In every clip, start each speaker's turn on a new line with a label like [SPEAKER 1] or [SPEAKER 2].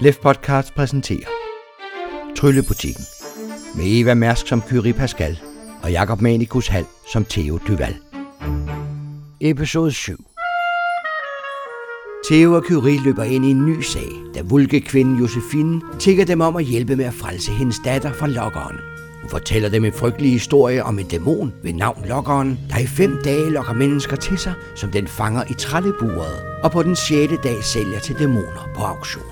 [SPEAKER 1] Lef Podcast præsenterer Tryllebutikken med Eva Mærsk som Kyrie Pascal og Jakob Manikus Hal som Theo Duval. Episode 7 Theo og Kyrie løber ind i en ny sag, da vulkekvinden Josefine tigger dem om at hjælpe med at frelse hendes datter fra lokkeren. Hun fortæller dem en frygtelig historie om en dæmon ved navn Lokkeren, der i fem dage lokker mennesker til sig, som den fanger i trælleburet, og på den sjette dag sælger til dæmoner på auktion.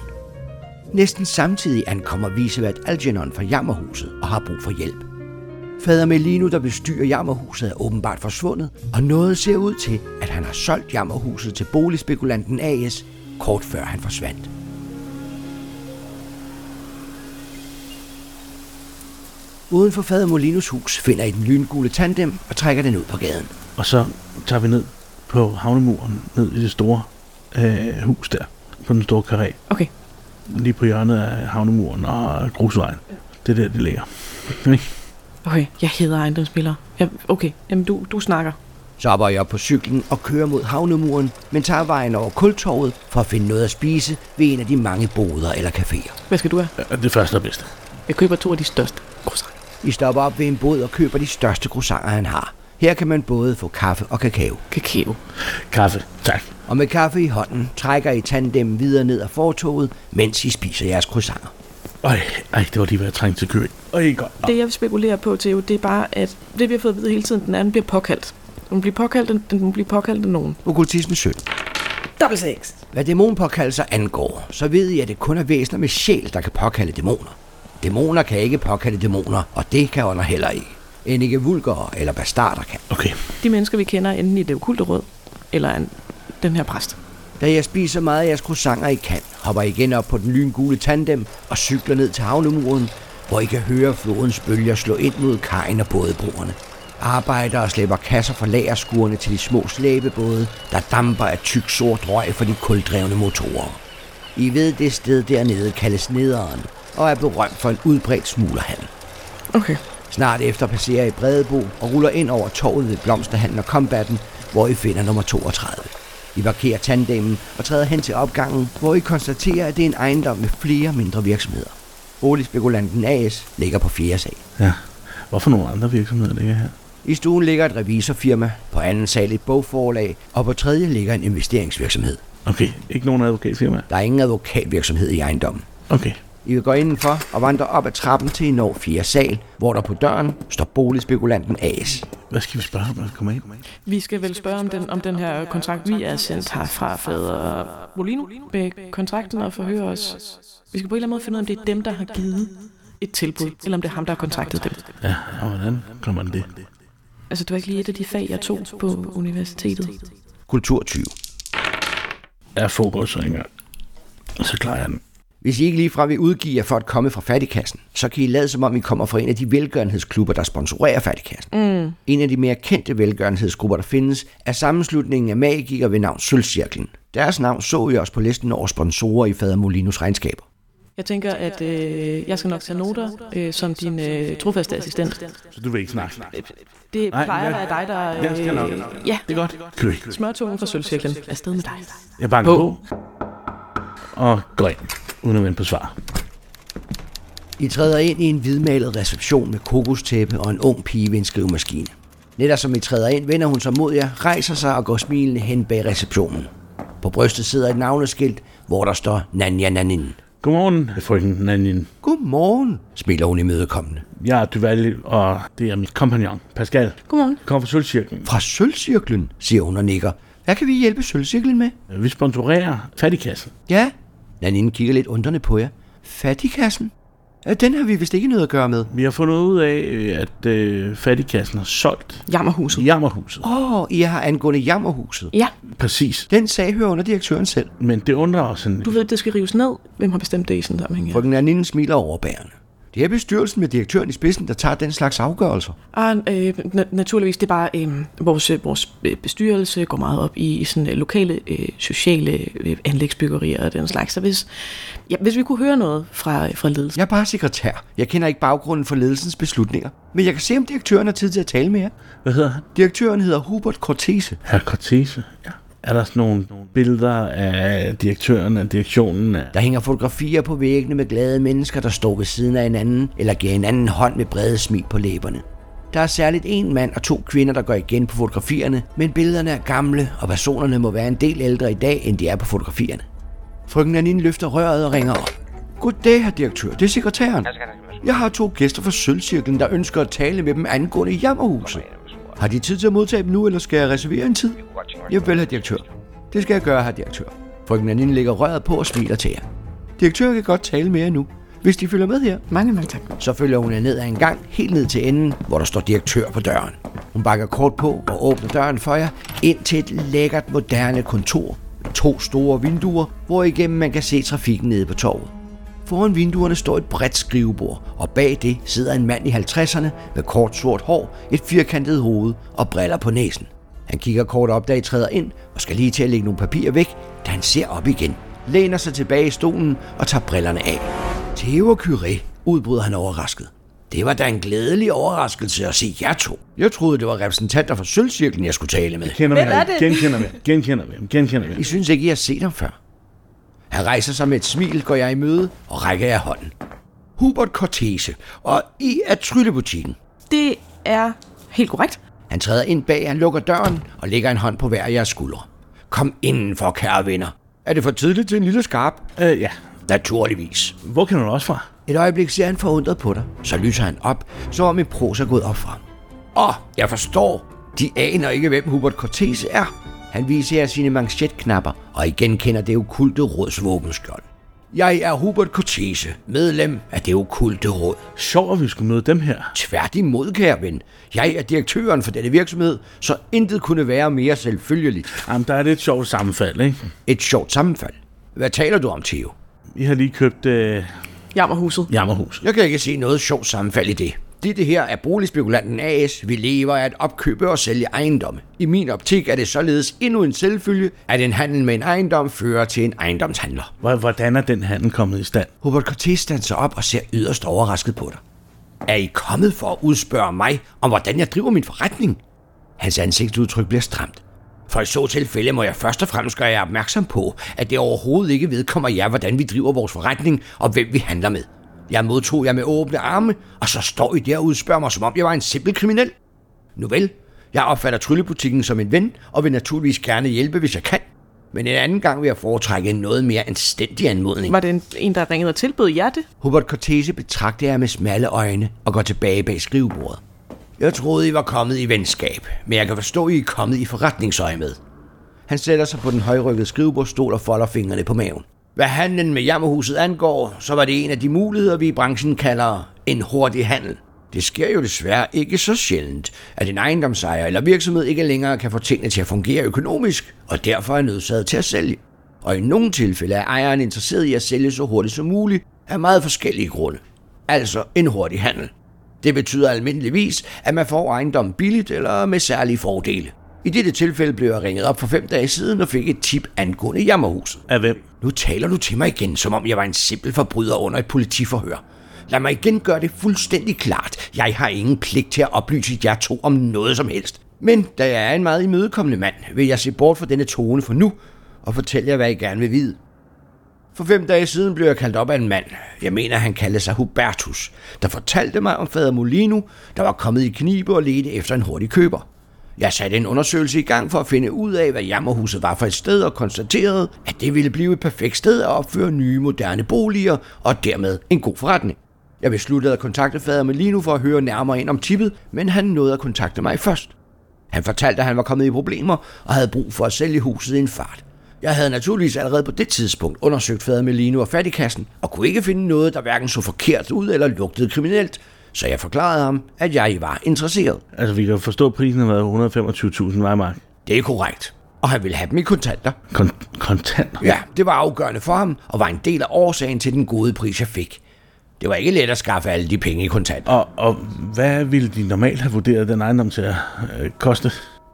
[SPEAKER 1] Næsten samtidig ankommer visevært Algernon fra Jammerhuset og har brug for hjælp. Fader Melino, der bestyrer Jammerhuset, er åbenbart forsvundet, og noget ser ud til, at han har solgt Jammerhuset til boligspekulanten AS kort før han forsvandt. Uden for Fader Molinos hus finder I den lyngule tandem og trækker den ud på gaden.
[SPEAKER 2] Og så tager vi ned på havnemuren, ned i det store øh, hus der, på den store karé.
[SPEAKER 3] Okay.
[SPEAKER 2] Lige på hjørnet af havnemuren og grusvejen. Det er der, det ligger. Ikke?
[SPEAKER 3] Okay, jeg hedder ejendomsspillere. Ja, okay, jamen du, du snakker.
[SPEAKER 1] Så hopper jeg op på cyklen og kører mod havnemuren, men tager vejen over kultorvet for at finde noget at spise ved en af de mange boder eller caféer.
[SPEAKER 3] Hvad skal du have?
[SPEAKER 2] Ja, det første og bedste.
[SPEAKER 3] Jeg køber to af de største. Croissanter.
[SPEAKER 1] I stopper op ved en bod og køber de største croissanter, han har. Her kan man både få kaffe og kakao.
[SPEAKER 3] Kakao.
[SPEAKER 2] Kaffe. Tak.
[SPEAKER 1] Og med kaffe i hånden trækker I tandem videre ned ad fortoget, mens I spiser jeres croissanter.
[SPEAKER 2] Øj, ej, det var lige, hvad jeg trængte til kø. Øj, godt.
[SPEAKER 3] Det jeg spekulerer på, Theo, det er bare, at det vi har fået at vide hele tiden, den anden bliver påkaldt. Den bliver påkaldt, den, den bliver påkaldt af nogen.
[SPEAKER 1] Okkultisme 17.
[SPEAKER 3] Dobbelt seks.
[SPEAKER 1] Hvad dæmonpåkaldelser angår, så ved I, at det kun er væsener med sjæl, der kan påkalde dæmoner. Dæmoner kan ikke påkalde dæmoner, og det kan ånder heller ikke. End ikke vulgere eller bastarder kan.
[SPEAKER 2] Okay.
[SPEAKER 3] De mennesker, vi kender, er enten i det okulte råd, eller en, den her præst.
[SPEAKER 1] Da jeg spiser meget af jeres croissanter, I kan, hopper I igen op på den lyngule tandem og cykler ned til havnemuren, hvor I kan høre flodens bølger slå ind mod kajen og bådebroerne. Arbejdere slæber kasser fra lagerskurene til de små slæbebåde, der damper af tyk sort røg fra de kuldrevne motorer. I ved, det sted dernede kaldes Nederen, og er berømt for en udbredt smuglerhandel.
[SPEAKER 3] Okay.
[SPEAKER 1] Snart efter passerer I Bredebo og ruller ind over torvet ved Blomsterhandel og Combatten, hvor I finder nummer 32. I parkerer tandemmen og træder hen til opgangen, hvor I konstaterer, at det er en ejendom med flere mindre virksomheder. Boligspekulanten AS ligger på fjerde sal.
[SPEAKER 2] Ja. Hvorfor nogle andre virksomheder ligger her?
[SPEAKER 1] I stuen ligger et revisorfirma, på anden sal et bogforlag, og på tredje ligger en investeringsvirksomhed.
[SPEAKER 2] Okay, ikke nogen advokatfirma?
[SPEAKER 1] Der er ingen advokatvirksomhed i ejendommen.
[SPEAKER 2] Okay.
[SPEAKER 1] I vil gå indenfor og vandre op ad trappen til I når fjerde sal, hvor der på døren står boligspekulanten AS.
[SPEAKER 2] Hvad skal vi spørge om, når vi kommer ind?
[SPEAKER 3] Vi skal vel spørge om den, om den her kontrakt, vi er sendt her fra fader Molino med kontrakten og forhøre os. Vi skal på en eller anden måde finde ud af, om det er dem, der har givet et tilbud, eller om det er ham, der har kontaktet dem.
[SPEAKER 2] Ja, og hvordan kommer man det?
[SPEAKER 3] Altså, det var ikke lige et af de fag, jeg tog på universitetet.
[SPEAKER 1] Kulturtyv.
[SPEAKER 2] Jeg foregår så ikke engang. Og så klarer jeg den.
[SPEAKER 1] Hvis I ikke ligefrem vil udgive jer for at komme fra fattigkassen, så kan I lade som om I kommer fra en af de velgørenhedsklubber, der sponsorerer fattigkassen. Mm. En af de mere kendte velgørenhedsgrupper, der findes, er sammenslutningen af magikere ved navn Sølvcirklen. Deres navn så I også på listen over sponsorer i Fader Molinos regnskaber.
[SPEAKER 3] Jeg tænker, at øh, jeg skal nok tage noter øh, som din øh, trofaste assistent.
[SPEAKER 2] Så du vil ikke snakke?
[SPEAKER 3] Det
[SPEAKER 2] Nej,
[SPEAKER 3] plejer at
[SPEAKER 2] jeg-
[SPEAKER 3] være dig, der...
[SPEAKER 2] jeg skal nok.
[SPEAKER 3] Ja,
[SPEAKER 2] Det er godt. Kø.
[SPEAKER 3] smørtungen fra sølvcirklen. Afsted med dig.
[SPEAKER 2] Jeg banker
[SPEAKER 3] På.
[SPEAKER 2] på. Og går ind, uden at vente på svar.
[SPEAKER 1] I træder ind i en hvidmalet reception med kokostæppe og en ung pige ved en skrivemaskine. Netop som I træder ind, vender hun sig mod jer, rejser sig og går smilende hen bag receptionen. På brystet sidder et navneskilt, hvor der står Nanja Nanin.
[SPEAKER 2] Godmorgen, frøken Nanin.
[SPEAKER 1] Godmorgen, smiler hun imødekommende.
[SPEAKER 2] Jeg er Duval, og det er min kompagnon, Pascal.
[SPEAKER 3] Godmorgen.
[SPEAKER 2] Vi kommer fra Sølvcirklen.
[SPEAKER 1] Fra Sølvcirklen, siger hun og nikker. Hvad kan vi hjælpe Sølvcirklen med?
[SPEAKER 2] Vi sponsorerer fattigkassen.
[SPEAKER 1] Ja. Nanine kigger lidt undrende på jer. Fattigkassen? Ja, Den har vi vist ikke noget at gøre med.
[SPEAKER 2] Vi har fundet ud af, øh, at øh, fattigkassen har solgt
[SPEAKER 3] Jammerhuset.
[SPEAKER 2] Jammerhuset.
[SPEAKER 1] Åh, oh, I har angående jammerhuset.
[SPEAKER 3] Ja,
[SPEAKER 2] Præcis.
[SPEAKER 1] Den sag hører under direktøren selv.
[SPEAKER 2] Men det undrer os en...
[SPEAKER 3] du ved, det skal rives ned. Hvem har bestemt det i sådan en sammenhæng? her?
[SPEAKER 1] Frøken Nanine smiler overbærende. Det er bestyrelsen med direktøren i spidsen, der tager den slags afgørelser.
[SPEAKER 3] Ah, øh, na- naturligvis, det er bare, øh, vores, øh, vores øh, bestyrelse går meget op i, i sådan øh, lokale øh, sociale øh, anlægsbyggerier og den slags. Så hvis, ja, hvis vi kunne høre noget fra, øh, fra ledelsen.
[SPEAKER 1] Jeg er bare sekretær. Jeg kender ikke baggrunden for ledelsens beslutninger. Men jeg kan se, om direktøren har tid til at tale med jer.
[SPEAKER 2] Hvad hedder han?
[SPEAKER 1] Direktøren hedder Hubert Cortese.
[SPEAKER 2] Herr Cortese. Ja. Er der sådan nogle billeder af direktøren, af direktionen? Af...
[SPEAKER 1] Der hænger fotografier på væggene med glade mennesker, der står ved siden af hinanden, eller giver hinanden hånd med brede smil på læberne. Der er særligt en mand og to kvinder, der går igen på fotografierne, men billederne er gamle, og personerne må være en del ældre i dag, end de er på fotografierne. Frøken Anine løfter røret og ringer op. Goddag, herr direktør. Det er sekretæren. Jeg har to gæster fra Sølvcirklen, der ønsker at tale med dem angående Jammerhuset. Har de tid til at modtage dem nu, eller skal jeg reservere en tid? Jeg vil, herr direktør. Det skal jeg gøre, herr direktør. Frøken Anine lægger røret på og smiler til jer. Direktør kan godt tale med jer nu, hvis de følger med her.
[SPEAKER 3] Mange, mange tak.
[SPEAKER 1] Så følger hun jer ned ad en gang, helt ned til enden, hvor der står direktør på døren. Hun bakker kort på og åbner døren for jer ind til et lækkert, moderne kontor med to store vinduer, hvor igennem man kan se trafikken nede på torvet. Foran vinduerne står et bredt skrivebord, og bag det sidder en mand i 50'erne med kort sort hår, et firkantet hoved og briller på næsen. Han kigger kort op, da I træder ind, og skal lige til at lægge nogle papirer væk, da han ser op igen, læner sig tilbage i stolen og tager brillerne af. Theo Curie, udbryder han overrasket. Det var da en glædelig overraskelse at se jer to. Jeg troede, det var repræsentanter fra Sølvcirklen, jeg skulle tale med.
[SPEAKER 2] Kender vi
[SPEAKER 3] Hvem er
[SPEAKER 2] ham?
[SPEAKER 3] det?
[SPEAKER 2] Genkender vi ham? Genkender vi ham? Genkender vi ham?
[SPEAKER 1] I synes ikke, I har set ham før. Han rejser sig med et smil, går jeg i møde og rækker jer hånden. Hubert Cortese, og I er Tryllebutikken.
[SPEAKER 3] Det er helt korrekt.
[SPEAKER 1] Han træder ind bag, han lukker døren og lægger en hånd på hver af jeres skuldre. Kom indenfor, kære venner. Er det for tidligt til en lille skarp?
[SPEAKER 2] Øh, ja.
[SPEAKER 1] Naturligvis.
[SPEAKER 2] Hvor kender du også fra?
[SPEAKER 1] Et øjeblik ser han forundret på dig. Så lyser han op, som om en pros er gået op fra ham. Åh, jeg forstår. De aner ikke, hvem Hubert Cortese er. Han viser jer sine manchetknapper, og igen kender det okulte råds våbenskjold. Jeg er Hubert Cortese, medlem af det okulte råd.
[SPEAKER 2] Sjovt, at vi skulle møde dem her.
[SPEAKER 1] Tværtimod, kære ven. Jeg er direktøren for denne virksomhed, så intet kunne være mere selvfølgeligt.
[SPEAKER 2] Jamen, der er lidt sjovt sammenfald, ikke?
[SPEAKER 1] Et sjovt sammenfald. Hvad taler du om, Theo?
[SPEAKER 2] Vi har lige købt øh,
[SPEAKER 3] Jammerhuset.
[SPEAKER 2] Jammerhus.
[SPEAKER 1] Jeg kan ikke se noget sjovt sammenfald i det. Det, det her er Boligspekulanten AS. Vi lever af at opkøbe og sælge ejendomme. I min optik er det således endnu en selvfølge, at en handel med en ejendom fører til en ejendomshandler.
[SPEAKER 2] Hvor- Hvordan er den handel kommet i stand?
[SPEAKER 1] Hubert Cortés standser op og ser yderst overrasket på dig. Er I kommet for at udspørge mig om, hvordan jeg driver min forretning? Hans ansigtsudtryk bliver stramt. For i så tilfælde må jeg først og fremmest gøre jer opmærksom på, at det overhovedet ikke vedkommer jer, hvordan vi driver vores forretning og hvem vi handler med. Jeg modtog jer med åbne arme, og så står I der og udspørger mig, som om jeg var en simpel kriminel. Nu vel, jeg opfatter tryllebutikken som en ven, og vil naturligvis gerne hjælpe, hvis jeg kan. Men en anden gang vil jeg foretrække en noget mere anstændig anmodning.
[SPEAKER 3] Var det en, en der ringede og tilbød jer det?
[SPEAKER 1] Hubert Cortese betragter jer med smalle øjne og går tilbage bag skrivebordet. Jeg troede, I var kommet i venskab, men jeg kan forstå, I er kommet i forretningsøje med. Han sætter sig på den højrykkede skrivebordstol og folder fingrene på maven. Hvad handlen med jammerhuset angår, så var det en af de muligheder, vi i branchen kalder en hurtig handel. Det sker jo desværre ikke så sjældent, at en ejendomsejer eller virksomhed ikke længere kan få tingene til at fungere økonomisk, og derfor er nødsaget til at sælge. Og i nogle tilfælde er ejeren interesseret i at sælge så hurtigt som muligt af meget forskellige grunde. Altså en hurtig handel. Det betyder almindeligvis, at man får ejendommen billigt eller med særlige fordele. I dette tilfælde blev jeg ringet op for fem dage siden og fik et tip angående jammerhuset.
[SPEAKER 2] Af hvem?
[SPEAKER 1] Nu taler du til mig igen, som om jeg var en simpel forbryder under et politiforhør. Lad mig igen gøre det fuldstændig klart. Jeg har ingen pligt til at oplyse jer to om noget som helst. Men da jeg er en meget imødekommende mand, vil jeg se bort fra denne tone for nu og fortælle jer, hvad I gerne vil vide. For fem dage siden blev jeg kaldt op af en mand. Jeg mener, han kaldte sig Hubertus, der fortalte mig om fader Molino, der var kommet i knibe og ledte efter en hurtig køber. Jeg satte en undersøgelse i gang for at finde ud af, hvad jammerhuset var for et sted, og konstaterede, at det ville blive et perfekt sted at opføre nye moderne boliger, og dermed en god forretning. Jeg besluttede at kontakte fader Molino for at høre nærmere ind om tippet, men han nåede at kontakte mig først. Han fortalte, at han var kommet i problemer og havde brug for at sælge huset i en fart. Jeg havde naturligvis allerede på det tidspunkt undersøgt fader Melino og fattigkassen, og kunne ikke finde noget, der hverken så forkert ud eller lugtede kriminelt, så jeg forklarede ham, at jeg var interesseret.
[SPEAKER 2] Altså, vi kan jo forstå, at prisen har været 125.000 vejmark.
[SPEAKER 1] Det er korrekt. Og han ville have dem i kontanter.
[SPEAKER 2] Kon- kontanter.
[SPEAKER 1] Ja, det var afgørende for ham, og var en del af årsagen til den gode pris, jeg fik. Det var ikke let at skaffe alle de penge i kontanter.
[SPEAKER 2] Og, og hvad ville de normalt have vurderet den ejendom til at øh, koste?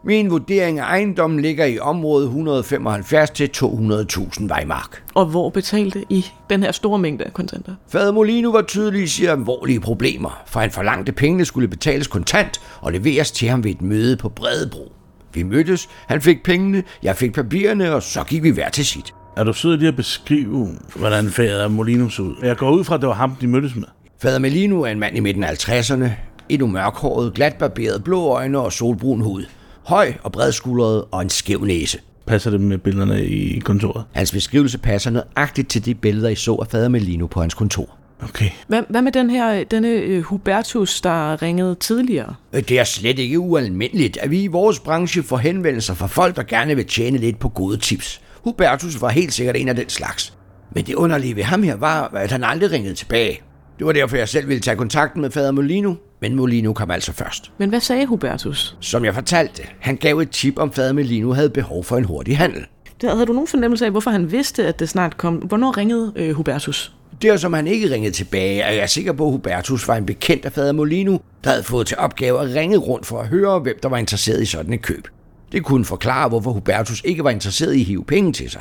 [SPEAKER 1] Min vurdering af ejendommen ligger i området 175 til 200.000 vejmark.
[SPEAKER 3] Og hvor betalte I den her store mængde af kontanter?
[SPEAKER 1] Fader Molino var tydeligvis i alvorlige problemer, for han forlangte at pengene skulle betales kontant og leveres til ham ved et møde på Bredebro. Vi mødtes, han fik pengene, jeg fik papirerne, og så gik vi hver til sit.
[SPEAKER 2] Er du sød lige at beskrive, hvordan fader Molino så ud? Jeg går ud fra, at det var ham, de mødtes med.
[SPEAKER 1] Fader Melino er en mand i midten af 50'erne. Endnu mørkhåret, glatbarberet, blå øjne og solbrun hud. Høj og bredskuldret og en skæv næse.
[SPEAKER 2] Passer det med billederne i kontoret?
[SPEAKER 1] Hans beskrivelse passer nøjagtigt til de billeder, I så af fader Melino på hans kontor.
[SPEAKER 2] Okay.
[SPEAKER 3] Hvad, hvad med den her, denne øh, Hubertus, der ringede tidligere?
[SPEAKER 1] Øh, Det er slet ikke ualmindeligt, at vi i vores branche får henvendelser fra folk, der gerne vil tjene lidt på gode tips. Hubertus var helt sikkert en af den slags. Men det underlige ved ham her var, at han aldrig ringede tilbage. Det var derfor, jeg selv ville tage kontakten med fader Molino, men Molino kom altså først.
[SPEAKER 3] Men hvad sagde Hubertus?
[SPEAKER 1] Som jeg fortalte, han gav et tip om fader Melino havde behov for en hurtig handel.
[SPEAKER 3] Der havde du nogen fornemmelse af, hvorfor han vidste, at det snart kom? Hvornår ringede øh, Hubertus?
[SPEAKER 1] Der som han ikke ringede tilbage, er jeg sikker på, at Hubertus var en bekendt af fader Molino, der havde fået til opgave at ringe rundt for at høre, hvem der var interesseret i sådan et køb. Det kunne forklare, hvorfor Hubertus ikke var interesseret i at hive penge til sig.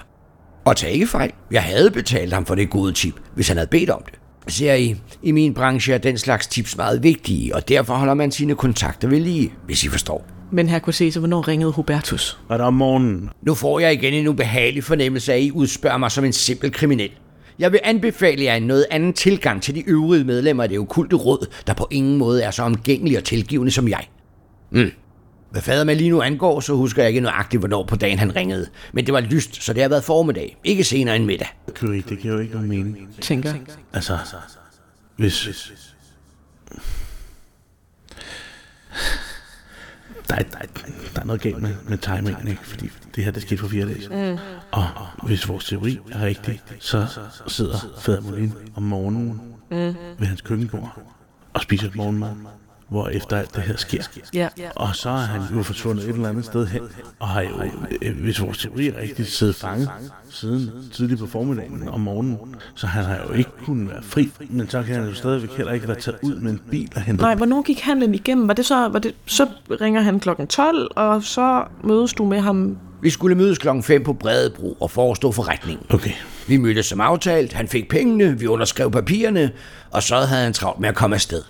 [SPEAKER 1] Og tag ikke fejl, jeg havde betalt ham for det gode tip, hvis han havde bedt om det. Ser I, i min branche er den slags tips meget vigtige, og derfor holder man sine kontakter ved lige, hvis I forstår.
[SPEAKER 3] Men her kunne se, så hvornår ringede Hubertus?
[SPEAKER 2] Var det om morgenen?
[SPEAKER 1] Nu får jeg igen en ubehagelig fornemmelse af, at I udspørger mig som en simpel kriminel. Jeg vil anbefale jer en noget anden tilgang til de øvrige medlemmer af det okulte råd, der på ingen måde er så omgængelige og tilgivende som jeg. Mm. Hvad fader med lige nu angår, så husker jeg ikke nøjagtigt, hvornår på dagen han ringede. Men det var lyst, så det har været formiddag, ikke senere end middag.
[SPEAKER 2] Curie, det giver jo ikke nogen mening.
[SPEAKER 3] Tænker.
[SPEAKER 2] Altså, hvis... Der er, der, er, der er noget galt med, med timingen, ikke? Fordi det her, det skete for fire dage. Mm. Og hvis vores teori er rigtig, så sidder Fader Molin om morgenen ved hans køkkenbord og spiser et morgenmad, hvor efter alt det her sker.
[SPEAKER 3] Ja.
[SPEAKER 2] Og så er han jo forsvundet et eller andet sted hen, og har jo, øh, hvis vores teori er rigtig, siddet fanget siden tidligt på formiddagen om morgenen. Så han har jo ikke kunnet være fri, men så kan han jo stadigvæk heller ikke være taget ud med en bil og hentet.
[SPEAKER 3] Nej, hvornår gik handlen igennem? Var det så, var det, så ringer han klokken 12, og så mødes du med ham.
[SPEAKER 1] Vi skulle mødes klokken 5 på Bredebro og forestå forretningen.
[SPEAKER 2] Okay,
[SPEAKER 1] Vi mødtes som aftalt, han fik pengene, vi underskrev papirerne, og så havde han travlt med at komme afsted.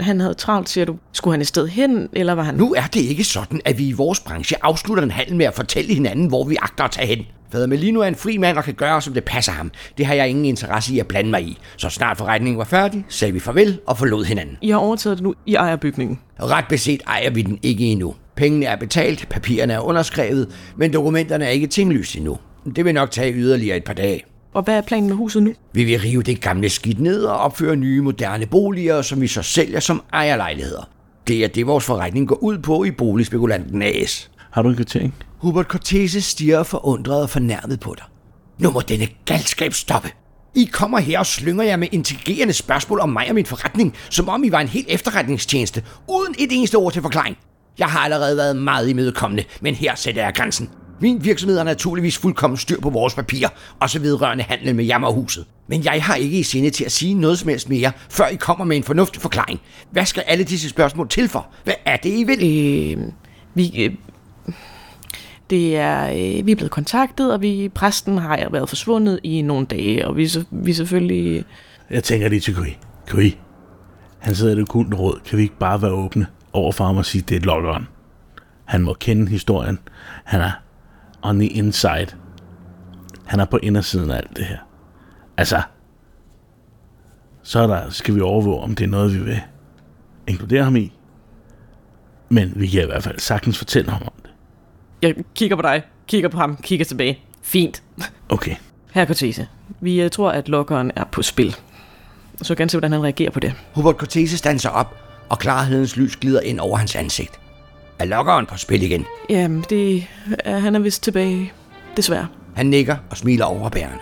[SPEAKER 3] Han havde travlt, siger du. Skulle han et sted hen, eller var han...
[SPEAKER 1] Nu er det ikke sådan, at vi i vores branche afslutter en handel med at fortælle hinanden, hvor vi agter at tage hen. Fader Melino er en fri mand og kan gøre, som det passer ham. Det har jeg ingen interesse i at blande mig i. Så snart forretningen var færdig, sagde vi farvel og forlod hinanden.
[SPEAKER 3] I har overtaget det nu. I ejer bygningen.
[SPEAKER 1] Og Ret beset ejer vi den ikke endnu. Pengene er betalt, papirerne er underskrevet, men dokumenterne er ikke tinglyst endnu. Det vil nok tage yderligere et par dage.
[SPEAKER 3] Og hvad er planen med huset nu?
[SPEAKER 1] Vi vil rive det gamle skidt ned og opføre nye moderne boliger, som vi så sælger som ejerlejligheder. Det er det, vores forretning går ud på i Boligspekulanten AS.
[SPEAKER 2] har du en kvittering?
[SPEAKER 1] Hubert Cortese stiger forundret og fornærmet på dig. Nu må denne galskab stoppe. I kommer her og slynger jer med intrigerende spørgsmål om mig og min forretning, som om I var en helt efterretningstjeneste, uden et eneste ord til forklaring. Jeg har allerede været meget imødekommende, men her sætter jeg grænsen. Min virksomhed har naturligvis fuldkommen styr på vores papirer, også vedrørende handel med jammerhuset. Men jeg har ikke i sinde til at sige noget som helst mere, før I kommer med en fornuftig forklaring. Hvad skal alle disse spørgsmål til for? Hvad er det, I vil?
[SPEAKER 3] Øh, vi, øh, det er, øh, vi er blevet kontaktet, og vi, præsten har været forsvundet i nogle dage, og vi, er se- vi er selvfølgelig...
[SPEAKER 2] Jeg tænker lige til Curie. Curie, han sidder i det kulte råd. Kan vi ikke bare være åbne over for ham og sige, det er lokkeren? Han må kende historien. Han er on the inside. Han er på indersiden af alt det her. Altså, så er der, skal vi overvåge, om det er noget, vi vil inkludere ham i. Men vi kan i hvert fald sagtens fortælle ham om det.
[SPEAKER 3] Jeg kigger på dig, kigger på ham, kigger tilbage. Fint.
[SPEAKER 2] Okay.
[SPEAKER 3] Her Cortese. Vi øh, tror, at lokkeren er på spil. Så gerne se, hvordan han reagerer på det.
[SPEAKER 1] Hubert Cortese standser op, og klarhedens lys glider ind over hans ansigt. Er lokkeren på spil igen?
[SPEAKER 3] Jamen, det, er, han er vist tilbage. Desværre.
[SPEAKER 1] Han nikker og smiler overbærende.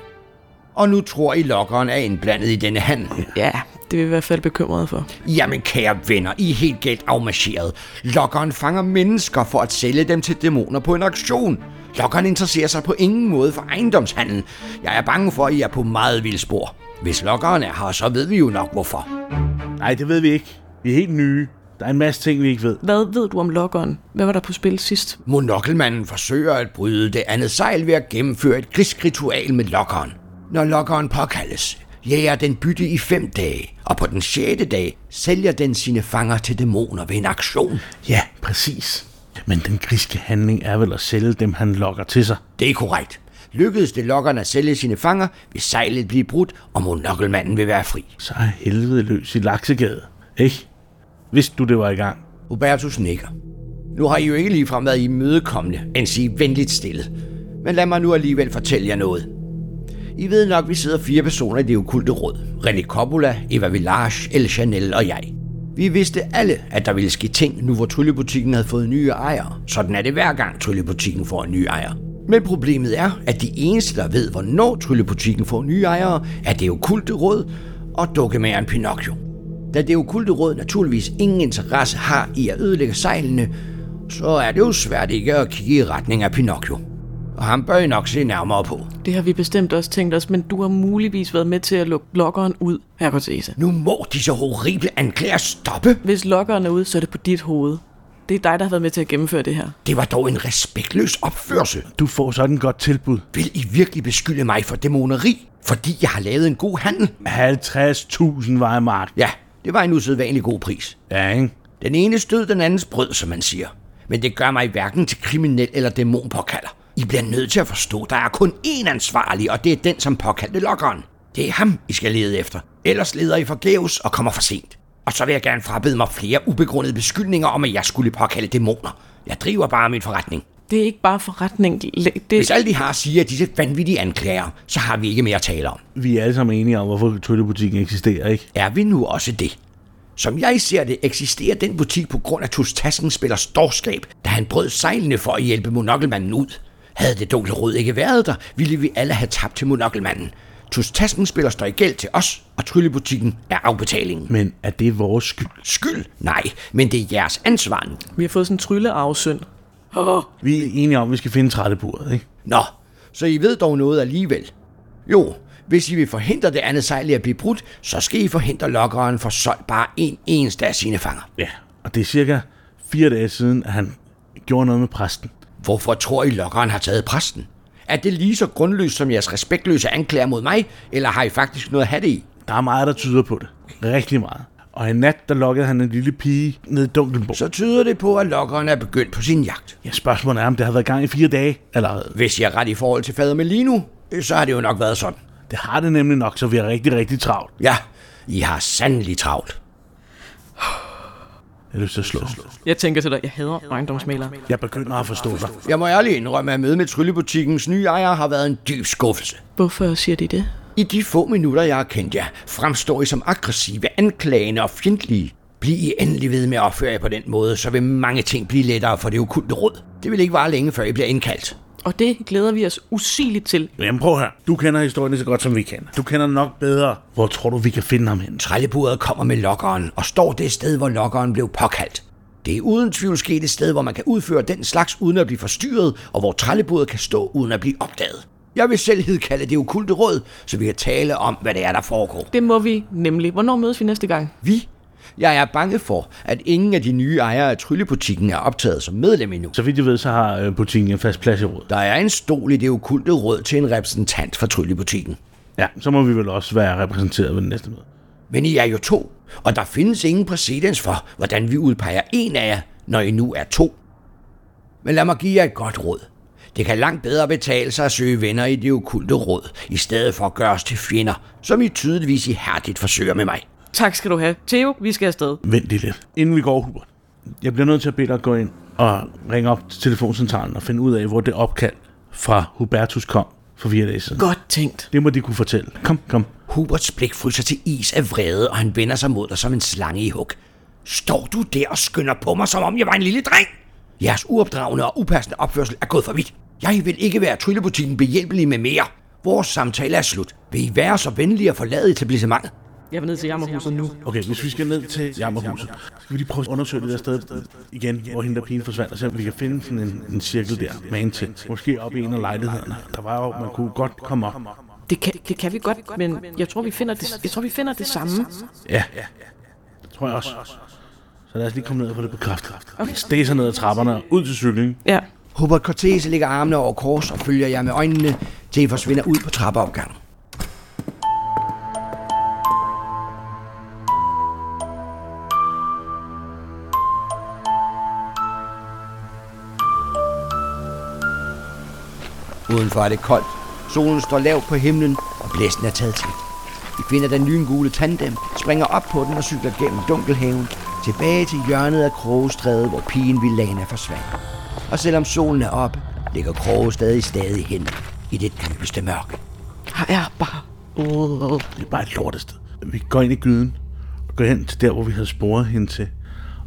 [SPEAKER 1] Og nu tror I, lokkeren er indblandet i denne handel.
[SPEAKER 3] Ja, det er vi i hvert fald bekymrede for.
[SPEAKER 1] Jamen kære venner, I er helt galt afmarcheret. Lokkeren fanger mennesker for at sælge dem til dæmoner på en auktion. Lokkeren interesserer sig på ingen måde for ejendomshandel. Jeg er bange for, at I er på meget vildt spor. Hvis lokkeren er her, så ved vi jo nok hvorfor.
[SPEAKER 2] Nej, det ved vi ikke. Vi er helt nye. Der er en masse ting, vi ikke ved.
[SPEAKER 3] Hvad ved du om lokkeren? Hvad var der på spil sidst?
[SPEAKER 1] Monokkelmanden forsøger at bryde det andet sejl ved at gennemføre et krigsritual med lokkeren. Når lokkeren påkaldes, jager den bytte i fem dage, og på den sjette dag sælger den sine fanger til dæmoner ved en aktion.
[SPEAKER 2] Ja, præcis. Men den griske handling er vel at sælge dem, han lokker til sig.
[SPEAKER 1] Det er korrekt. Lykkedes det lokkerne at sælge sine fanger, vil sejlet blive brudt, og monokkelmanden vil være fri.
[SPEAKER 2] Så er helvede løs i Laksegade. Ikke? Vidste du, det var i gang?
[SPEAKER 1] Hubertus nikker. Nu har I jo ikke ligefrem været imødekommende, end sige venligt stille. Men lad mig nu alligevel fortælle jer noget. I ved nok, vi sidder fire personer i det okulte råd. René Coppola, Eva Village, El Chanel og jeg. Vi vidste alle, at der ville ske ting, nu hvor tryllebutikken havde fået nye ejere. Sådan er det hver gang tryllebutikken får en ny ejer. Men problemet er, at de eneste, der ved, hvornår tryllebutikken får nye ejere, er det okulte råd og dukkemageren Pinocchio. Da det okulte råd naturligvis ingen interesse har i at ødelægge sejlene, så er det jo svært ikke at kigge i retning af Pinocchio. Og ham bør I nok se nærmere på.
[SPEAKER 3] Det har vi bestemt også tænkt os, men du har muligvis været med til at lukke lokkeren ud, Herkotese.
[SPEAKER 1] Nu må disse horrible anklager stoppe.
[SPEAKER 3] Hvis lokkeren er ude, så er det på dit hoved. Det er dig, der har været med til at gennemføre det her.
[SPEAKER 1] Det var dog en respektløs opførsel.
[SPEAKER 2] Du får sådan et godt tilbud.
[SPEAKER 1] Vil I virkelig beskylde mig for dæmoneri, fordi jeg har lavet en god handel?
[SPEAKER 2] 50.000 var i mark.
[SPEAKER 1] Ja, det var en usædvanlig god pris.
[SPEAKER 2] Ja, ikke?
[SPEAKER 1] Den ene stød den andens brød, som man siger. Men det gør mig hverken til kriminel eller dæmonpåkalder. I bliver nødt til at forstå, der er kun én ansvarlig, og det er den, som påkaldte lokkeren. Det er ham, I skal lede efter. Ellers leder I forgæves og kommer for sent. Og så vil jeg gerne frabede mig flere ubegrundede beskyldninger om, at jeg skulle påkalde dæmoner. Jeg driver bare min forretning.
[SPEAKER 3] Det er ikke bare forretning. Det, det,
[SPEAKER 1] Hvis alt de har at sige er disse vanvittige anklager, så har vi ikke mere at tale om.
[SPEAKER 2] Vi er alle sammen enige om, hvorfor tryllebutikken eksisterer, ikke?
[SPEAKER 1] er vi nu også det? Som jeg ser det, eksisterer den butik på grund af Tustasken spiller storskab, da han brød sejlene for at hjælpe monokkelmanden ud. Havde det dunkle rød ikke været der, ville vi alle have tabt til monokkelmanden. Tustasken spiller står i gæld til os, og tryllebutikken er afbetalingen.
[SPEAKER 2] Men er det vores skyld?
[SPEAKER 1] Skyld? Nej, men det er jeres ansvar nu.
[SPEAKER 3] Vi har fået sådan en tryllearvesynd. Oh,
[SPEAKER 2] Vi er enige om, at vi skal finde trættebordet, ikke?
[SPEAKER 1] Nå, så I ved dog noget alligevel. Jo, hvis I vil forhindre det andet sejl i at blive brudt, så skal I forhindre lokkeren for solgt bare en eneste af sine fanger.
[SPEAKER 2] Ja, og det er cirka fire dage siden, at han gjorde noget med præsten.
[SPEAKER 1] Hvorfor tror I, lokkeren har taget præsten? Er det lige så grundløst som jeres respektløse anklager mod mig, eller har I faktisk noget at have det i?
[SPEAKER 2] Der er meget, der tyder på det. Rigtig meget. Og i nat, der lokkede han en lille pige ned i Dunkelborg. Så...
[SPEAKER 1] Så tyder det på, at lokkeren er begyndt på sin jagt.
[SPEAKER 2] Ja, spørgsmålet er, om det har været i gang i fire dage allerede.
[SPEAKER 1] Hvis jeg er ret i forhold til fader Melino, øh, så har det jo nok været sådan.
[SPEAKER 2] Det har det nemlig nok, så vi er rigtig, rigtig travlt.
[SPEAKER 1] Ja, I har sandelig travlt.
[SPEAKER 2] Jeg har lyst til at slå.
[SPEAKER 3] jeg tænker til dig, jeg hader ejendomsmalere.
[SPEAKER 2] Jeg begynder at forstå dig.
[SPEAKER 1] Jeg må ærligt indrømme, at mødet med Tryllebutikkens nye ejer har været en dyb skuffelse.
[SPEAKER 3] Hvorfor siger de det?
[SPEAKER 1] I de få minutter, jeg har kendt jer, fremstår I som aggressive, anklagende og fjendtlige. Bliv I endelig ved med at opføre jer på den måde, så vil mange ting blive lettere for det okulte råd. Det vil ikke vare længe, før I bliver indkaldt.
[SPEAKER 3] Og det glæder vi os usigeligt til.
[SPEAKER 2] Jamen prøv her. Du kender historien lige så godt, som vi kender. Du kender den nok bedre. Hvor tror du, vi kan finde ham hen?
[SPEAKER 1] Trælleburet kommer med lokkeren og står det sted, hvor lokkeren blev påkaldt. Det er uden tvivl sket et sted, hvor man kan udføre den slags uden at blive forstyrret, og hvor trælleburet kan stå uden at blive opdaget. Jeg vil selv hedkalde det okulte råd, så vi kan tale om, hvad det er, der foregår.
[SPEAKER 3] Det må vi nemlig. Hvornår mødes vi næste gang?
[SPEAKER 1] Vi? Jeg er bange for, at ingen af de nye ejere af tryllebutikken er optaget som medlem endnu.
[SPEAKER 2] Så vidt jeg ved, så har øh, butikken en fast plads i rådet.
[SPEAKER 1] Der er en stol i det okulte råd til en repræsentant for tryllebutikken.
[SPEAKER 2] Ja, så må vi vel også være repræsenteret ved den næste møde.
[SPEAKER 1] Men I er jo to, og der findes ingen præcedens for, hvordan vi udpeger en af jer, når I nu er to. Men lad mig give jer et godt råd. Det kan langt bedre betale sig at søge venner i det okulte råd, i stedet for at gøre os til fjender, som I tydeligvis ihærdigt forsøger med mig.
[SPEAKER 3] Tak skal du have. Theo, vi skal afsted.
[SPEAKER 2] Vent lige lidt. Inden vi går, Hubert. Jeg bliver nødt til at bede dig at gå ind og ringe op til telefoncentralen og finde ud af, hvor det opkald fra Hubertus kom for fire dage siden.
[SPEAKER 3] Godt tænkt.
[SPEAKER 2] Det må de kunne fortælle. Kom, kom.
[SPEAKER 1] Huberts blik fryser til is af vrede, og han vender sig mod dig som en slange i hug. Står du der og skynder på mig, som om jeg var en lille dreng? Jeres uopdragende og upassende opførsel er gået for vidt. Jeg vil ikke være tryllebutikken behjælpelig med mere. Vores samtale er slut. Vil I være så venlige at forlade etablissementet?
[SPEAKER 3] Jeg vil ned til Jammerhuset nu.
[SPEAKER 2] Okay, hvis vi skal ned til Jammerhuset, skal vi lige prøve at undersøge det der sted igen, hvor hende der pigen forsvandt, og se om vi kan finde sådan en, en cirkel der, man til. Måske op i en af lejlighederne. Der var jo, man kunne godt komme op.
[SPEAKER 3] Det kan, det kan vi godt, men jeg tror, vi finder det, jeg tror, vi finder det samme.
[SPEAKER 2] Ja, det tror jeg også. Så lad os lige komme ned og få det bekræftet. Okay. Stæser ned ad trapperne, og ud til cyklen.
[SPEAKER 3] Ja.
[SPEAKER 1] Hubert Cortese lægger armene over kors og følger jer med øjnene, til I forsvinder ud på trappeopgangen. Udenfor er det koldt. Solen står lavt på himlen, og blæsten er taget til. Vi finder den lyngule tandem, springer op på den og cykler gennem dunkelhaven, tilbage til hjørnet af Krogestræde, hvor pigen Villana forsvandt. Og selvom solen er op, ligger Kroge stadig stadig hen i det dybeste mørke.
[SPEAKER 3] Her er bare... Uh,
[SPEAKER 2] Det er bare et lortested. Vi går ind i gyden, og går hen til der, hvor vi havde sporet hende til,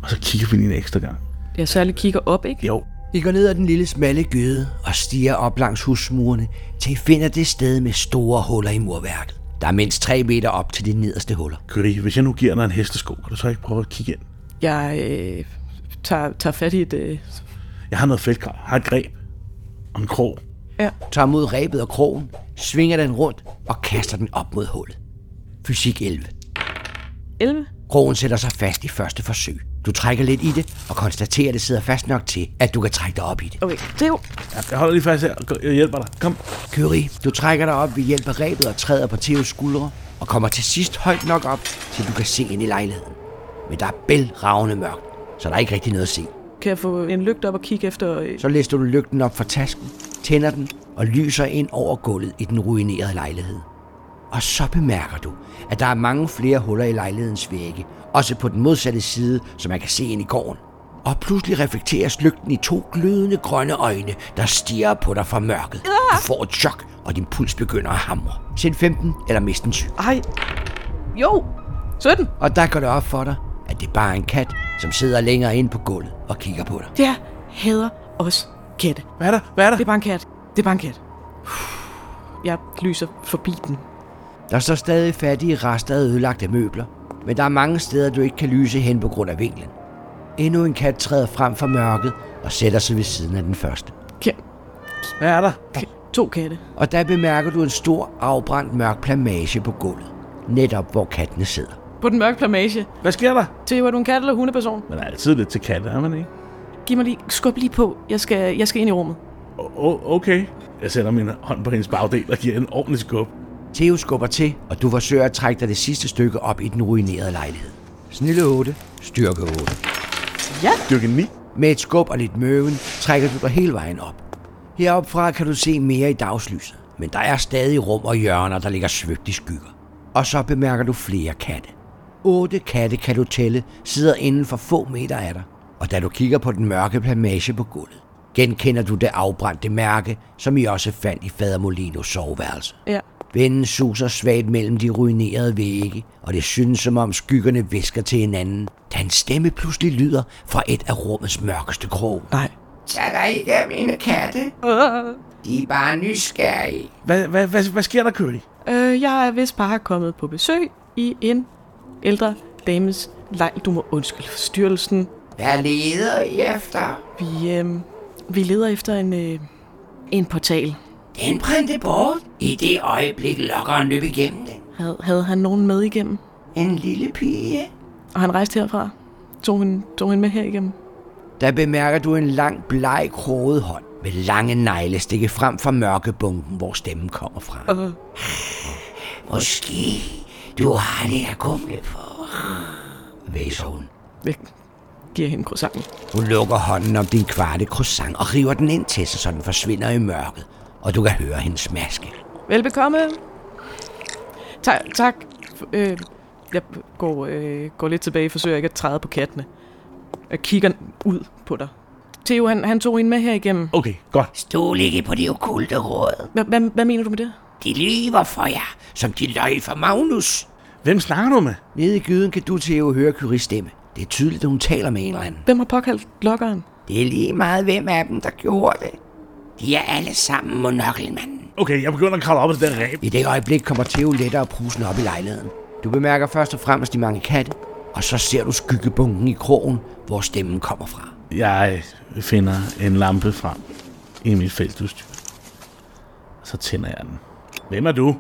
[SPEAKER 2] og så kigger vi lige en ekstra gang.
[SPEAKER 3] Jeg særlig kigger op, ikke?
[SPEAKER 2] Jo,
[SPEAKER 1] I går ned ad den lille smalle gyde og stiger op langs husmurene, til I finder det sted med store huller i murværket. Der er mindst 3 meter op til de nederste huller.
[SPEAKER 2] Gry, hvis jeg nu giver dig en hestesko, kan du så ikke prøve at kigge ind?
[SPEAKER 3] Jeg øh, tager, tager fat i et... Øh,
[SPEAKER 2] Jeg har noget feltgrav, jeg har et greb og en krog.
[SPEAKER 3] ja.
[SPEAKER 1] tager mod rebet og krogen, svinger den rundt og kaster den op mod hullet. Fysik 11.
[SPEAKER 3] 11?
[SPEAKER 1] Krogen sætter sig fast i første forsøg. Du trækker lidt i det og konstaterer, at det sidder fast nok til, at du kan trække dig op i det.
[SPEAKER 3] Okay, det er jo...
[SPEAKER 2] Ja, Jeg holder lige fast her, og jeg hjælper dig. Kom.
[SPEAKER 1] Kyrie, du trækker dig op ved hjælp af rebet og træder på Theos skuldre og kommer til sidst højt nok op, til du kan se ind i lejligheden. Men der er bælragende mørkt, så der er ikke rigtig noget at se.
[SPEAKER 3] Kan jeg få en lygte op og kigge efter... Øh,
[SPEAKER 1] Så lister du lygten op fra tasken, tænder den og lyser ind over gulvet i den ruinerede lejlighed. Og så bemærker du, at der er mange flere huller i lejlighedens vægge, også på den modsatte side, som man kan se ind i gården. Og pludselig reflekteres lygten i to glødende grønne øjne, der stiger på dig fra mørket. Du får et chok, og din puls begynder at hamre. Send 15 eller mist en syg.
[SPEAKER 3] ej! Jo! 17!
[SPEAKER 1] Og der går det op for dig, at det bare er en kat, som sidder længere ind på gulvet og kigger på dig.
[SPEAKER 3] Det her hader os katte.
[SPEAKER 2] Hvad er der? Hvad er der?
[SPEAKER 3] Det er bare en kat. Det er bare en kat. Jeg lyser forbi den.
[SPEAKER 1] Der står stadig fattige rester af ødelagte møbler, men der er mange steder, du ikke kan lyse hen på grund af vinklen. Endnu en kat træder frem fra mørket og sætter sig ved siden af den første.
[SPEAKER 3] Ka-
[SPEAKER 2] Hvad er der?
[SPEAKER 3] ka- to katte.
[SPEAKER 1] Og der bemærker du en stor, afbrændt mørk plamage på gulvet, netop hvor kattene sidder.
[SPEAKER 3] På den mørke plamage.
[SPEAKER 2] Hvad sker der?
[SPEAKER 3] Theo, er du en kat eller hundeperson?
[SPEAKER 2] Man er altid lidt til katte, er man ikke?
[SPEAKER 3] Giv mig lige, skub lige på. Jeg skal, jeg skal ind i rummet.
[SPEAKER 2] O- o- okay. Jeg sætter min hånd på hendes bagdel og giver hende en ordentlig skub.
[SPEAKER 1] Theo skubber til, og du forsøger at trække dig det sidste stykke op i den ruinerede lejlighed. Snille 8, styrke 8.
[SPEAKER 2] Dykke 9.
[SPEAKER 1] Med et skub og lidt møven trækker du dig hele vejen op. Heropfra kan du se mere i dagslyset, men der er stadig rum og hjørner, der ligger svøbt i skygger. Og så bemærker du flere katte. Otte katte kan du tælle, sidder inden for få meter af dig. Og da du kigger på den mørke plamage på gulvet, genkender du det afbrændte mærke, som I også fandt i fader Molinos soveværelse.
[SPEAKER 3] Ja.
[SPEAKER 1] Vinden suser svagt mellem de ruinerede vægge, og det synes som om skyggerne visker til hinanden, da en stemme pludselig lyder fra et af rummets mørkeste krog.
[SPEAKER 3] Nej.
[SPEAKER 1] Tag dig ikke af mine katte. De er bare nysgerrige.
[SPEAKER 2] Hvad, hvad, hvad, hvad sker der, Curly?
[SPEAKER 3] Øh, jeg er vist bare kommet på besøg i en ældre dames lejl. Du må undskylde forstyrrelsen.
[SPEAKER 1] Hvad leder I efter?
[SPEAKER 3] Vi, øh, vi leder efter en, øh, en portal.
[SPEAKER 1] Den brændte bort. I det øjeblik lokkeren løb igennem den.
[SPEAKER 3] Havde, havde han nogen med igennem?
[SPEAKER 1] En lille pige.
[SPEAKER 3] Og han rejste herfra. Tog hende, tog hende med her igennem.
[SPEAKER 1] Der bemærker du en lang, bleg, kroget hånd med lange negle stikke frem fra mørkebunken, hvor stemmen kommer fra.
[SPEAKER 3] Øh.
[SPEAKER 1] Måske du har lidt at kumle for. Væser hun.
[SPEAKER 3] Jeg giver hende croissanten.
[SPEAKER 1] Hun lukker hånden om din kvarte croissant og river den ind til sig, så den forsvinder i mørket, og du kan høre hendes smaske.
[SPEAKER 3] Velbekomme. Tak. tak. F- Øh, jeg går, øh, går lidt tilbage, forsøger ikke at træde på kattene. Jeg kigger ud på dig. Theo, han, han tog en med her igennem.
[SPEAKER 2] Okay, godt.
[SPEAKER 1] Stol ikke på det okulte råd.
[SPEAKER 3] Hva- hva- Hvad mener du med det?
[SPEAKER 1] De lyver for jer, som de løg for Magnus.
[SPEAKER 2] Hvem snakker du med?
[SPEAKER 1] Nede i gyden kan du til at høre Kyries stemme. Det er tydeligt, at hun taler med en eller anden.
[SPEAKER 3] Hvem har påkaldt lokkeren?
[SPEAKER 1] Det er lige meget, hvem af dem, der gjorde det. De er alle sammen monokkelmanden.
[SPEAKER 2] Okay, jeg begynder at kravle op ad den ræb.
[SPEAKER 1] I det øjeblik kommer Theo lettere og prusen op i lejligheden. Du bemærker først og fremmest de mange katte, og så ser du skyggebunken i krogen, hvor stemmen kommer fra.
[SPEAKER 2] Jeg finder en lampe frem i mit feltudstyr. Og så tænder jeg den. Hvem er du?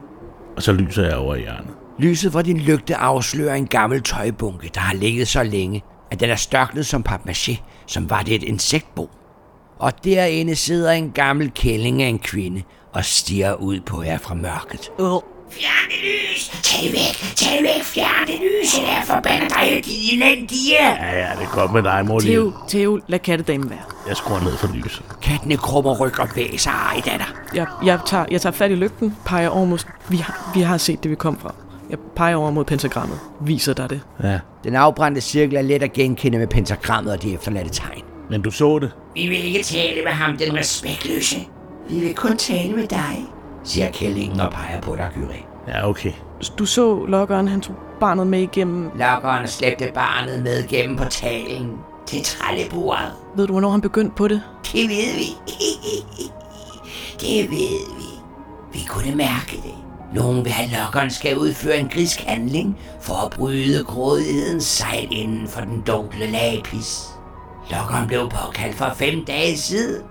[SPEAKER 2] Og så lyser jeg over i hjørnet.
[SPEAKER 1] Lyset fra din lygte afslører en gammel tøjbunke, der har ligget så længe, at den er størknet som papmaché, som var det et insektbo. Og derinde sidder en gammel kælling af en kvinde og stiger ud på jer fra mørket.
[SPEAKER 3] Øh.
[SPEAKER 1] Fjern det lys! Tag væk! Tag væk! Fjern det lys! Jeg forbander dig, de elendige!
[SPEAKER 2] Ja, ja, det er godt med dig, mor.
[SPEAKER 3] Theo, Theo, lad kattedamen være.
[SPEAKER 2] Jeg skruer ned for lyset.
[SPEAKER 1] Kattene krummer ryg og væser. Ej, datter.
[SPEAKER 3] Jeg, jeg, tager, jeg tager fat i lygten, peger over mod... Vi har, vi har set det, vi kom fra. Jeg peger over mod pentagrammet. Viser dig det.
[SPEAKER 2] Ja,
[SPEAKER 1] Den afbrændte cirkel er let at genkende med pentagrammet og de efterladte tegn.
[SPEAKER 2] men du så det.
[SPEAKER 4] Vi vil ikke tale med ham, den respektløse. Vi vil kun tale med dig.
[SPEAKER 1] Siger kællingen og peger på dig, Gyri.
[SPEAKER 2] Ja, okay.
[SPEAKER 3] Du så lokkeren, han tog barnet med igennem.
[SPEAKER 4] Lokkeren slæbte barnet med gennem portalen til trællebordet.
[SPEAKER 3] Ved du, hvornår han begyndte på det?
[SPEAKER 4] Det ved vi. Det ved vi. Vi kunne mærke det. Nogen vil have lokkeren skal udføre en grisk handling for at bryde grådighedens sejl inden for den dunkle lapis. Lokkeren blev påkaldt for fem dage siden.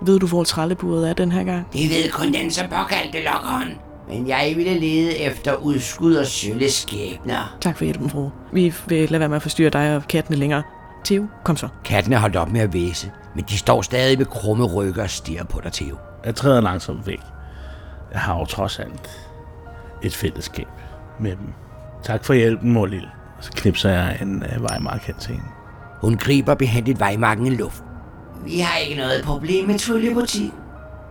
[SPEAKER 3] Ved du, hvor trælleburet er den her gang?
[SPEAKER 4] Det ved kun den, som påkaldte lokkeren. Men jeg ville lede efter udskud og sølle skæbner.
[SPEAKER 3] Tak for hjælpen, fru. Vi vil lade være med at forstyrre dig og kattene længere. Theo, kom så.
[SPEAKER 1] Kattene har holdt op med at væse, men de står stadig med krumme rygge og stiger på dig, Theo.
[SPEAKER 2] Jeg træder langsomt væk. Jeg har jo trods alt et fællesskab med dem. Tak for hjælpen, mor Lille. Og så knipser jeg en øh, vejmark hen til hende.
[SPEAKER 1] Hun griber behendigt vejmarken i luften.
[SPEAKER 4] Vi har ikke noget problem med Tullebutikken.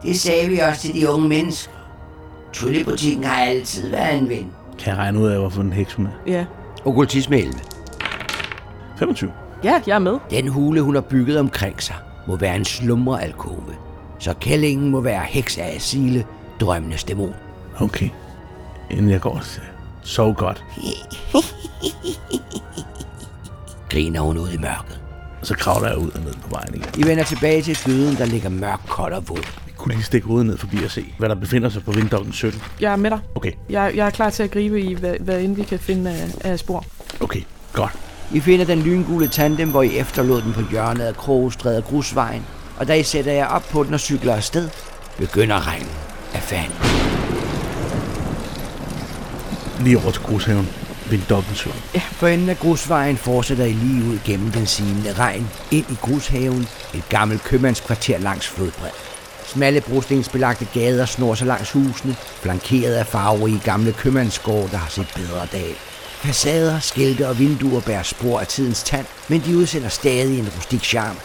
[SPEAKER 4] Det sagde vi også til de unge mennesker. Tullebutikken har altid været en ven.
[SPEAKER 2] Kan jeg regne ud af, hvorfor den heks hun er?
[SPEAKER 3] Ja.
[SPEAKER 1] Okkultisme 11.
[SPEAKER 2] 25.
[SPEAKER 3] Ja, jeg er med.
[SPEAKER 1] Den hule, hun har bygget omkring sig, må være en slumrealkove. Så kællingen må være heks af Asile, drømmenes dæmon.
[SPEAKER 2] Okay. Inden jeg går, så sov godt.
[SPEAKER 1] Griner hun ud i mørket.
[SPEAKER 2] Og så kravler jeg ud og ned på vejen igen.
[SPEAKER 1] I vender tilbage til gyden, der ligger mørk, kold og våd.
[SPEAKER 2] Jeg kunne lige stikke hovedet ned forbi og se, hvad der befinder sig på vinddokken 17.
[SPEAKER 3] Jeg er med dig.
[SPEAKER 2] Okay,
[SPEAKER 3] Jeg, jeg er klar til at gribe i, hvad, hvad end vi kan finde af, af spor.
[SPEAKER 2] okay, godt.
[SPEAKER 1] I finder den lyngule tandem, hvor I efterlod den på hjørnet af Krogestræde og Grusvejen, og da I sætter jer op på den og cykler afsted, begynder regnen af fanden.
[SPEAKER 2] Lige over til grushaven. Vinddokken 17.
[SPEAKER 1] For enden af grusvejen fortsætter I lige ud gennem den sinende regn, ind i grushaven, et gammelt købmandskvarter langs flodbred. Smalle brostensbelagte gader snor sig langs husene, flankeret af farverige gamle købmandsgård, der har set bedre dage. Facader, skilte og vinduer bærer spor af tidens tand, men de udsender stadig en rustik charme.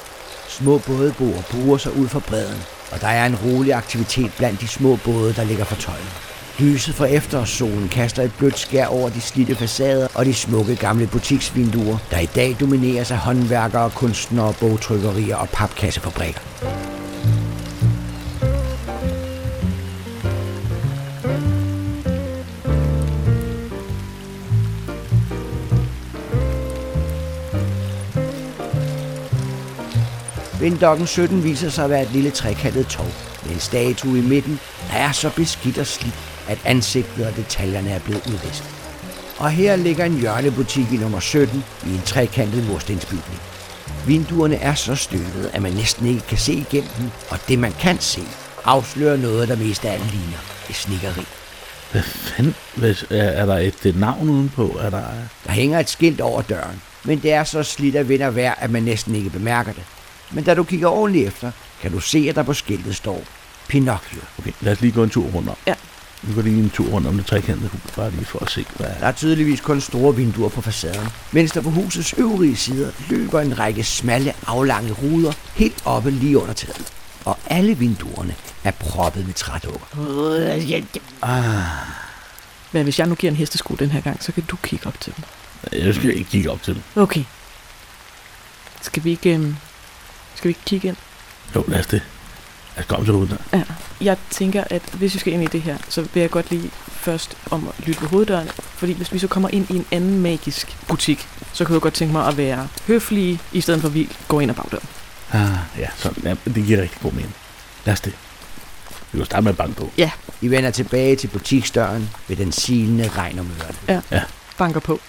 [SPEAKER 1] Små bådeboer burer sig ud for bredden, og der er en rolig aktivitet blandt de små både, der ligger for tøjet. Lyset fra efterårssolen kaster et blødt skær over de slidte facader og de smukke gamle butiksvinduer, der i dag domineres af håndværkere, kunstnere, bogtrykkerier og papkassefabrikker. Vinddokken 17 viser sig at være et lille trekantet tog, med en statue i midten, der er så beskidt og slidt, at ansigtet og detaljerne er blevet udvisket. Og her ligger en hjørnebutik i nummer 17 i en trekantet murstensbygning. Vinduerne er så støvede, at man næsten ikke kan se igennem dem, og det man kan se, afslører noget, der mest af alt ligner et snikkeri.
[SPEAKER 2] Hvad fanden? Hvad, er, er der et øh, navn udenpå? Er der...
[SPEAKER 1] Der hænger et skilt over døren, men det er så slidt af vind og vejr, at man næsten ikke bemærker det. Men da du kigger ordentligt efter, kan du se, at der på skiltet står Pinocchio.
[SPEAKER 2] Okay, lad os lige gå en tur rundt om.
[SPEAKER 3] Ja.
[SPEAKER 2] Vi går lige en tur rundt om det trekantede hus, bare lige for at se, hvad
[SPEAKER 1] Der er tydeligvis kun store vinduer på facaden, mens der på husets øvrige sider løber en række smalle, aflange ruder helt oppe lige under taget. Og alle vinduerne er proppet med trædukker.
[SPEAKER 3] Hvad Ah. hvis jeg nu giver en hestesko den her gang, så kan du kigge op til dem.
[SPEAKER 2] Jeg skal ikke kigge op til det.
[SPEAKER 3] Okay. Skal vi ikke, øhm, skal vi ikke kigge ind?
[SPEAKER 2] Jo, lad os det. Lad os komme til uden der.
[SPEAKER 3] Ja. Jeg tænker, at hvis vi skal ind i det her, så vil jeg godt lige først om at lytte ved hoveddøren. Fordi hvis vi så kommer ind i en anden magisk butik, så kunne jeg godt tænke mig at være høflige, i stedet for at vi går ind ad bagdøren.
[SPEAKER 2] Ah, ja, sådan. Ja, det giver rigtig god mening. Lad os det. Vi kan jo starte med at banke på.
[SPEAKER 3] Ja,
[SPEAKER 1] I vender tilbage til butiksdøren ved den silende regn om ørerne.
[SPEAKER 3] banker på.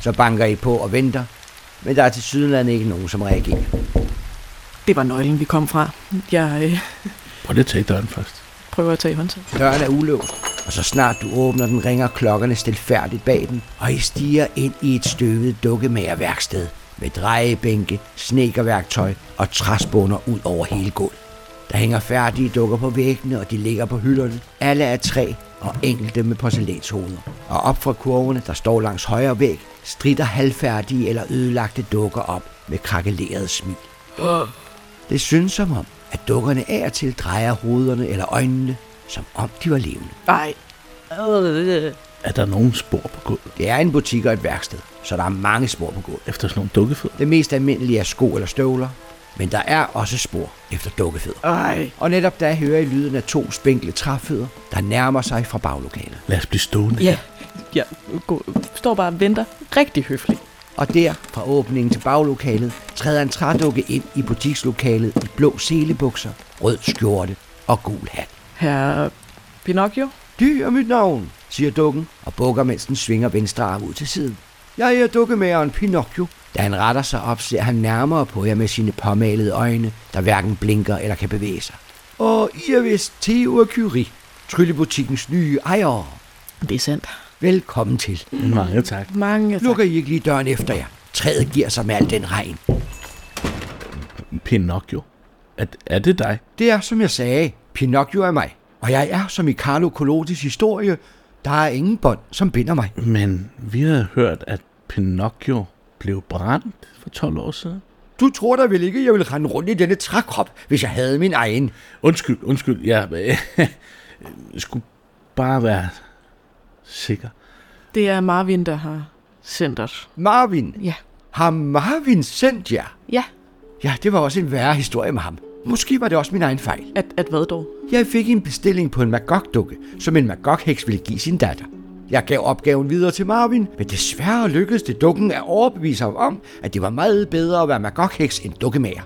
[SPEAKER 1] Så banker I på og venter, men der er til sydenlandet ikke nogen, som reagerer.
[SPEAKER 3] Det var nøglen, vi kom fra. Jeg øh,
[SPEAKER 2] Prøv lige at tage døren først.
[SPEAKER 3] prøver at tage i håndtaget.
[SPEAKER 1] Døren er ulåst, og så snart du åbner den, ringer klokkerne stilfærdigt bag den, og I stiger ind i et støvet dukkemagerværksted med drejebænke, snekerværktøj og træspunder ud over hele gulvet. Der hænger færdige dukker på væggene, og de ligger på hylderne. Alle er træ og enkelte med porcelænshoveder. Og op fra kurvene, der står langs højre væg, strider halvfærdige eller ødelagte dukker op med krakelerede smil. Det synes som om, at dukkerne af og til drejer hovederne eller øjnene, som om de var levende.
[SPEAKER 3] Nej.
[SPEAKER 2] Er der nogen spor på gulvet
[SPEAKER 1] Det er en butik og et værksted, så der er mange spor på gulvet.
[SPEAKER 2] efter sådan nogle dukkefødder?
[SPEAKER 1] Det mest almindelige er sko eller støvler, men der er også spor efter dukkefødder.
[SPEAKER 3] Nej.
[SPEAKER 1] Og netop da hører I lyden af to spinkle træfødder, der nærmer sig fra baglokalet.
[SPEAKER 2] Lad os blive stående.
[SPEAKER 3] Ja. Jeg går- står bare og venter rigtig høfligt.
[SPEAKER 1] Og der, fra åbningen til baglokalet, træder en trædukke ind i butikslokalet i blå selebukser, rød skjorte og gul hat.
[SPEAKER 3] Herre Pinocchio?
[SPEAKER 1] Dyr mit navn, siger dukken og bukker, mens den svinger venstre arm ud til siden. Jeg er dukkemageren Pinocchio. Da han retter sig op, ser han nærmere på jer med sine påmalede øjne, der hverken blinker eller kan bevæge sig. Og I er vist Theo og Curie, tryllebutikkens nye ejere.
[SPEAKER 3] Det er sandt.
[SPEAKER 1] Velkommen til.
[SPEAKER 2] Mm, Mange tak.
[SPEAKER 3] Mange tak.
[SPEAKER 1] Lukker I ikke lige døren efter jer. Træet giver sig med al den regn.
[SPEAKER 2] Pinocchio. Er, er det dig?
[SPEAKER 1] Det er, som jeg sagde, Pinocchio er mig. Og jeg er, som i Carlo Collodis historie, der er ingen bånd, som binder mig.
[SPEAKER 2] Men vi havde hørt, at Pinocchio blev brændt for 12 år siden.
[SPEAKER 1] Du tror da vel ikke, jeg ville rende rundt i denne trækrop, hvis jeg havde min egen.
[SPEAKER 2] Undskyld, undskyld. Jeg øh, skulle bare være sikker.
[SPEAKER 3] Det er Marvin, der har sendt os.
[SPEAKER 1] Marvin.
[SPEAKER 3] Ja.
[SPEAKER 1] Har Marvin sendt jer?
[SPEAKER 3] Ja.
[SPEAKER 1] Ja, det var også en værre historie med ham. Måske var det også min egen fejl.
[SPEAKER 3] At, at hvad dog?
[SPEAKER 1] Jeg fik en bestilling på en magog-dukke, som en magog-heks ville give sin datter. Jeg gav opgaven videre til Marvin, men desværre lykkedes det dukken at overbevise ham om, at det var meget bedre at være magog-heks end dukkemager.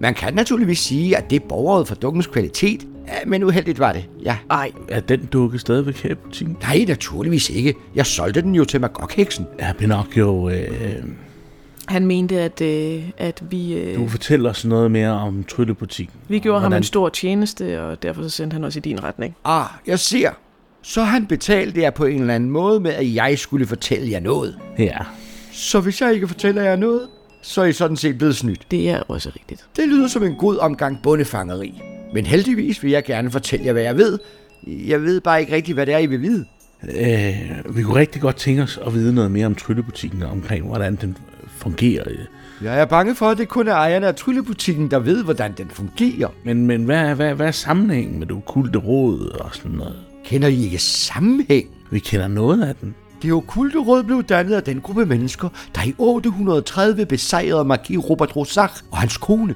[SPEAKER 1] Man kan naturligvis sige, at det borgede for dukkens kvalitet, ja, men uheldigt var det, ja.
[SPEAKER 3] Nej.
[SPEAKER 2] Er den dukke stadigvæk her i butikken?
[SPEAKER 1] Nej, naturligvis ikke. Jeg solgte den jo til magog-heksen.
[SPEAKER 2] Er Pinocchio... Øh,
[SPEAKER 3] Han mente, at, øh, at vi, øh,
[SPEAKER 2] du fortæller os noget mere om tryllebutikken.
[SPEAKER 3] vi gjorde Hvordan? ham
[SPEAKER 2] Hvordan-
[SPEAKER 3] en stor tjeneste, og derfor så sendte han os i din retning.
[SPEAKER 1] Ah, jeg ser. Så han betalte jer på en eller anden måde med, at jeg skulle fortælle jer noget.
[SPEAKER 2] Ja,
[SPEAKER 1] Så hvis jeg ikke fortæller jer noget, så er I sådan set blevet snydt.
[SPEAKER 3] Det er også rigtigt.
[SPEAKER 1] Det lyder som en god omgang bondefangeri. Men heldigvis vil jeg gerne fortælle jer, hvad jeg ved. Jeg ved bare ikke rigtigt, hvad det er, I vil vide.
[SPEAKER 2] øh, vi kunne rigtig godt tænke os at vide noget mere om tryllebutikken og omkring, hvordan den fungerer. øh.
[SPEAKER 1] Jeg er bange for, at det kun er ejerne af tryllebutikken, der ved, hvordan den fungerer.
[SPEAKER 2] Men, men hvad, er- hvad, hvad er sammenhængen med det okulte råd og sådan noget?
[SPEAKER 1] Kender I ikke sammenhæng?
[SPEAKER 2] Vi kender noget af den.
[SPEAKER 1] Det okulte råd blev dannet af den gruppe mennesker, der i 830 besejrede marki Robert Rosach og hans kone.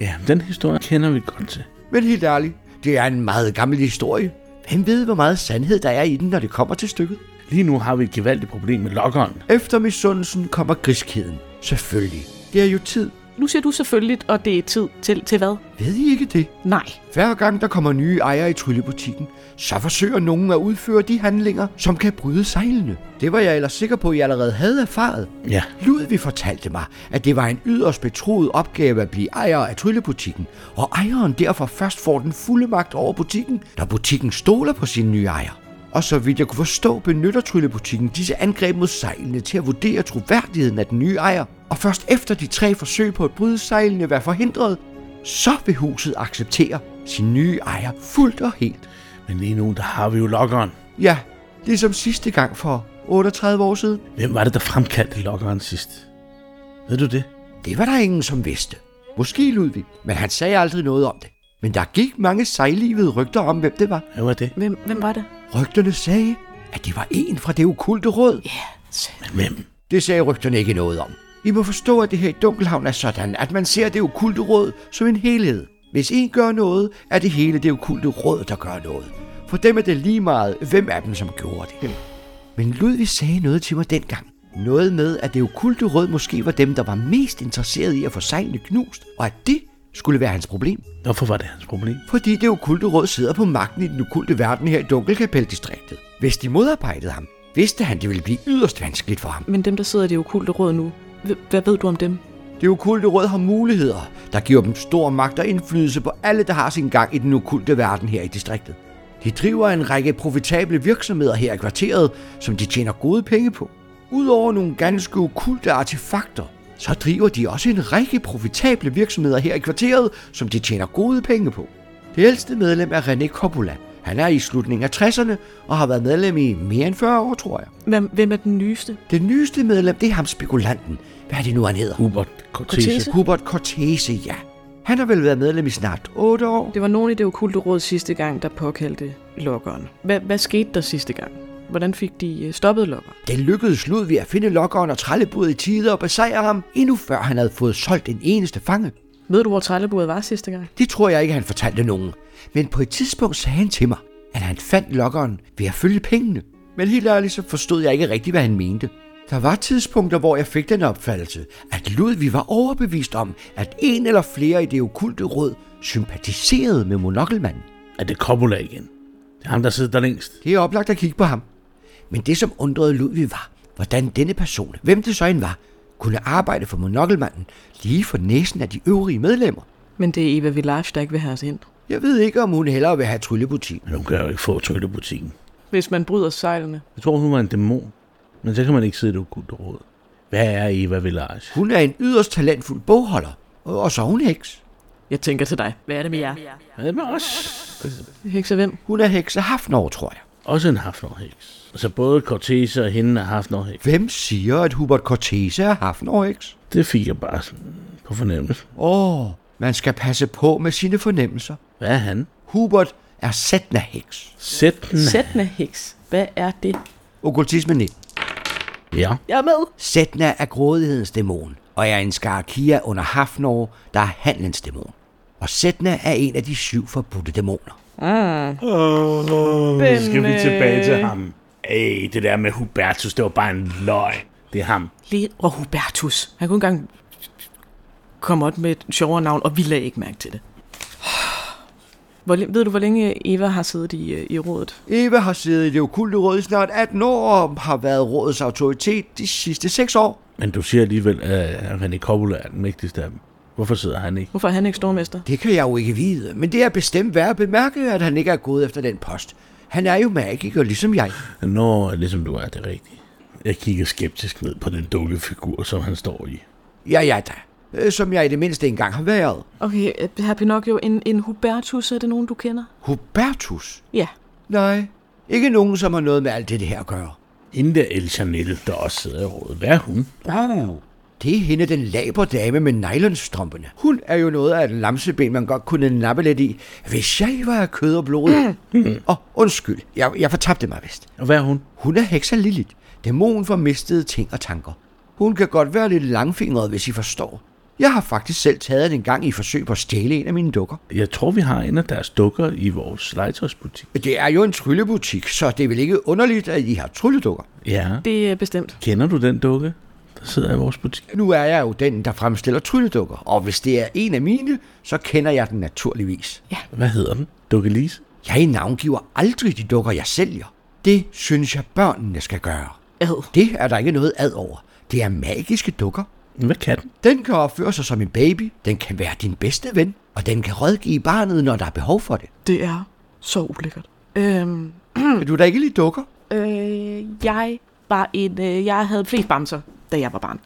[SPEAKER 2] Ja, den historie kender vi godt til.
[SPEAKER 1] Men helt ærligt, det er en meget gammel historie. Hvem ved, hvor meget sandhed der er i den, når det kommer til stykket?
[SPEAKER 2] Lige nu har vi et gevaldigt problem med lokkeren.
[SPEAKER 1] Efter misundelsen kommer griskheden. Selvfølgelig. Det er jo tid.
[SPEAKER 3] Nu siger du selvfølgelig, og det er tid til, til hvad?
[SPEAKER 1] Ved I ikke det?
[SPEAKER 3] Nej.
[SPEAKER 1] Hver gang der kommer nye ejere i tryllebutikken, så forsøger nogen at udføre de handlinger, som kan bryde sejlene. Det var jeg ellers sikker på, at I allerede havde erfaret.
[SPEAKER 2] Ja,
[SPEAKER 1] Ludvig fortalte mig, at det var en yderst betroet opgave at blive ejer af tryllebutikken, og ejeren derfor først får den fulde magt over butikken, når butikken stoler på sin nye ejer. Og så vidt jeg kunne forstå, benytter tryllebutikken disse angreb mod sejlene til at vurdere troværdigheden af den nye ejer, og først efter de tre forsøg på at bryde sejlene være forhindret, så vil huset acceptere sin nye ejer fuldt og helt.
[SPEAKER 2] men lige nu, der har vi jo lokkeren.
[SPEAKER 1] Ja, ligesom sidste gang for 38 år siden.
[SPEAKER 2] Hvem var det, der fremkaldte lokkeren sidst? Ved du det?
[SPEAKER 1] Det var der ingen, som vidste. Måske Ludvig, men han sagde aldrig noget om det. Men der gik mange sejlivede rygter om, hvem det var.
[SPEAKER 2] Hvad var det?
[SPEAKER 3] Hvem, hvem var det?
[SPEAKER 1] Rygterne sagde, at det var en fra det okulte råd.
[SPEAKER 2] Men hvem?
[SPEAKER 1] Det sagde rygterne ikke noget om. I må forstå, at det her i Dunkelhavn er sådan, at man ser det okulte råd som en helhed. Hvis en gør noget, er det hele det okulte råd, der gør noget. For dem er det lige meget, hvem af dem, som gjorde det. Men Ludvig sagde noget til mig dengang. Noget med, at det okulte råd måske var dem, der var mest interesseret i at få sejlene knust, og at det skulle være hans problem.
[SPEAKER 2] Hvorfor var det hans problem?
[SPEAKER 1] Fordi det okulte råd sidder på magten i den okulte verden her i Dunkelkapeldistriktet. Hvis de modarbejdede ham, vidste han, det ville blive yderst vanskeligt for ham.
[SPEAKER 3] Men dem, der sidder i det okulte råd nu, hv- hvad ved du om dem?
[SPEAKER 1] Det okulte råd har muligheder, der giver dem stor magt og indflydelse på alle, der har sin gang i den okulte verden her i distriktet. De driver en række profitable virksomheder her i kvarteret, som de tjener gode penge på. Udover nogle ganske okulte artefakter, så driver de også en række profitable virksomheder her i kvarteret, som de tjener gode penge på. Det ældste medlem er René Coppola. Han er i slutningen af 60'erne og har været medlem i mere end 40 år, tror jeg.
[SPEAKER 3] Hvem, hvem er den nyeste?
[SPEAKER 1] Den nyeste medlem, det er ham spekulanten. Hvad er det nu, han hedder?
[SPEAKER 2] Hubert Cortese.
[SPEAKER 3] Cortese?
[SPEAKER 1] Hubert Cortese, ja. Han har vel været medlem i snart 8 år.
[SPEAKER 3] Det var nogen i det okulte råd sidste gang, der påkaldte lokkeren. Hvad, hvad skete der sidste gang? Hvordan fik de øh, stoppet lokkeren?
[SPEAKER 1] Det lykkedes Ludvig at finde lokkeren og trællebudet i tide og besejre ham, endnu før han havde fået solgt en eneste fange.
[SPEAKER 3] Ved du, hvor trællebordet var sidste gang?
[SPEAKER 1] Det tror jeg ikke, han fortalte nogen. Men på et tidspunkt sagde han til mig, at han fandt lokkeren ved at følge pengene. Men helt ærligt, så forstod jeg ikke rigtigt, hvad han mente. Der var tidspunkter, hvor jeg fik den opfattelse, at Ludvig var overbevist om, at en eller flere i det okulte råd sympatiserede med monokkelmanden.
[SPEAKER 2] Er det Coppola igen? Det er ham, der sidder der længst.
[SPEAKER 1] Det er oplagt at kigge på ham. Men det, som undrede Ludvig var, hvordan denne person, hvem det så end var, kunne arbejde for monokkelmanden lige for næsen af de øvrige medlemmer.
[SPEAKER 3] Men det er Eva Village, der ikke vil have os ind.
[SPEAKER 1] Jeg ved ikke, om hun hellere vil have tryllebutik.
[SPEAKER 2] Men hun kan jo ikke få tøjlebutikken.
[SPEAKER 3] Hvis man bryder sejlene.
[SPEAKER 2] Jeg tror, hun var en dæmon. Men så kan man ikke sidde i det okulte råd. Hvad er Eva Village?
[SPEAKER 1] Hun er en yderst talentfuld bogholder, og og så er hun heks.
[SPEAKER 3] Jeg tænker til dig. Hvad er det med jer?
[SPEAKER 2] Hvad med os?
[SPEAKER 3] Hekser hvem?
[SPEAKER 1] Hun er hekse Hafnor, tror jeg.
[SPEAKER 2] Også en hafnorheks. Altså både Cortese og hende er hafnorheks.
[SPEAKER 1] Hvem siger, at Hubert Cortese er Hafnor-heks?
[SPEAKER 2] Det fik jeg bare sådan på fornemmelse.
[SPEAKER 1] Åh, man skal passe på med sine fornemmelser.
[SPEAKER 2] Hvad er han?
[SPEAKER 1] Hubert er Setna-heks.
[SPEAKER 2] Sæt den.
[SPEAKER 3] Sættende heks. Hvad er det?
[SPEAKER 1] Okkultisme 19.
[SPEAKER 2] Ja.
[SPEAKER 3] Jeg er med.
[SPEAKER 1] Setna er grådighedens dæmon, og er en skarakia under Hafnor, der er handlens dæmon. Og Setna er en af de syv forbudte dæmoner.
[SPEAKER 2] Oh, nu skal vi
[SPEAKER 3] øh,
[SPEAKER 2] tilbage til ham. Ej, det der med Hubertus, det var bare en løgn. Det er ham.
[SPEAKER 3] Le og Hubertus. Han kunne engang komme op med et sjovere navn, og vi lagde ikke mærke til det. Hvor, læ- ved du, hvor længe Eva har siddet i, øh, i rådet?
[SPEAKER 1] Eva har siddet i det okulte råd i snart 18 år og har været rådets autoritet de sidste 6 år.
[SPEAKER 2] Men du siger alligevel, at René Coppola er den mægtigste af dem. Hvorfor sidder han ikke?
[SPEAKER 3] Hvorfor er han ikke stormester?
[SPEAKER 1] Det kan jeg jo ikke vide, men det er bestemt værd at bemærke, at han ikke er gået efter den post. Han er jo magiker, ligesom jeg.
[SPEAKER 2] Nå, ligesom du er det rigtige. Jeg kigger skeptisk ned på den dukke figur, som han står i.
[SPEAKER 1] Ja, ja da. Øh, Som jeg i det mindste engang har været.
[SPEAKER 3] Okay, øh, herr Pinocchio, en, en Hubertus, er det nogen, du kender?
[SPEAKER 1] Hubertus?
[SPEAKER 3] Ja.
[SPEAKER 1] Nej, ikke nogen, som har noget med alt det her at gøre.
[SPEAKER 2] Hende der El Chanel, der også sidder i rådet. Hvad er hun?
[SPEAKER 1] Det er hende, den laber dame med nylonstrømperne. Hun er jo noget af et lamseben, man godt kunne nappe lidt i, hvis jeg var af kød og blod. og undskyld, jeg, jeg fortabte mig vist.
[SPEAKER 2] Og hvad er hun?
[SPEAKER 1] Hun er hekser Lilith, dæmon for mistede ting og tanker. Hun kan godt være lidt langfingret, hvis I forstår. Jeg har faktisk selv taget den en gang i forsøg på at stjæle en af mine dukker.
[SPEAKER 2] Jeg tror, vi har en af deres dukker i vores legetøjsbutik.
[SPEAKER 1] Det er jo en tryllebutik, så det er vel ikke underligt, at I har trylledukker.
[SPEAKER 2] Ja.
[SPEAKER 3] Det er bestemt.
[SPEAKER 2] Kender du den dukke, der sidder i vores butik?
[SPEAKER 1] Nu er jeg jo den, der fremstiller trylledukker, og hvis det er en af mine, så kender jeg den naturligvis.
[SPEAKER 2] Hvad hedder den? Dukke Lise?
[SPEAKER 1] Jeg navngiver aldrig de dukker, jeg sælger. Det synes jeg, børnene skal gøre.
[SPEAKER 3] Ad.
[SPEAKER 1] Det er der ikke noget ad over. Det er magiske dukker.
[SPEAKER 2] Hvad kan den?
[SPEAKER 1] Den kan opføre sig som en baby, den kan være din bedste ven, og den kan rådgive barnet, når der er behov for det.
[SPEAKER 3] Det er så ulækkert. Øhm,
[SPEAKER 1] Kan du da ikke lige dukker?
[SPEAKER 3] øh, jeg var en, øh, jeg havde flest bamser, da jeg var barn.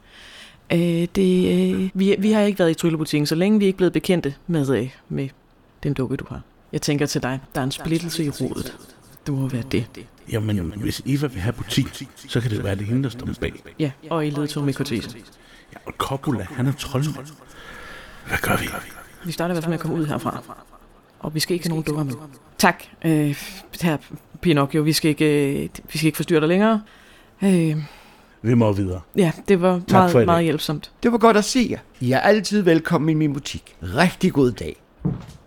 [SPEAKER 3] Øh, det, øh, vi, vi har ikke været i tryllebutikken, så længe vi er ikke blevet bekendte med, øh, med den dukke, du har. Jeg tænker til dig, der er en splittelse i rodet. Det må være det.
[SPEAKER 2] Jamen, Jamen hvis Eva vil have butik, så kan det være, det er hende, der står bag.
[SPEAKER 3] Ja, og i ledtog med Cortese.
[SPEAKER 2] Ja, og Coppola, han er troldmand. Hvad gør vi?
[SPEAKER 3] Vi starter i hvert fald med at komme ud herfra. Og vi skal ikke have nogen dukker med. Tak, øh, her Pinocchio. Vi skal ikke, øh, vi skal ikke forstyrre dig længere. Øh,
[SPEAKER 2] Vi må videre.
[SPEAKER 3] ja, det var
[SPEAKER 2] for i dag.
[SPEAKER 3] meget, meget hjælpsomt.
[SPEAKER 1] Det var godt at se jer. I er altid velkommen i min butik. Rigtig god dag.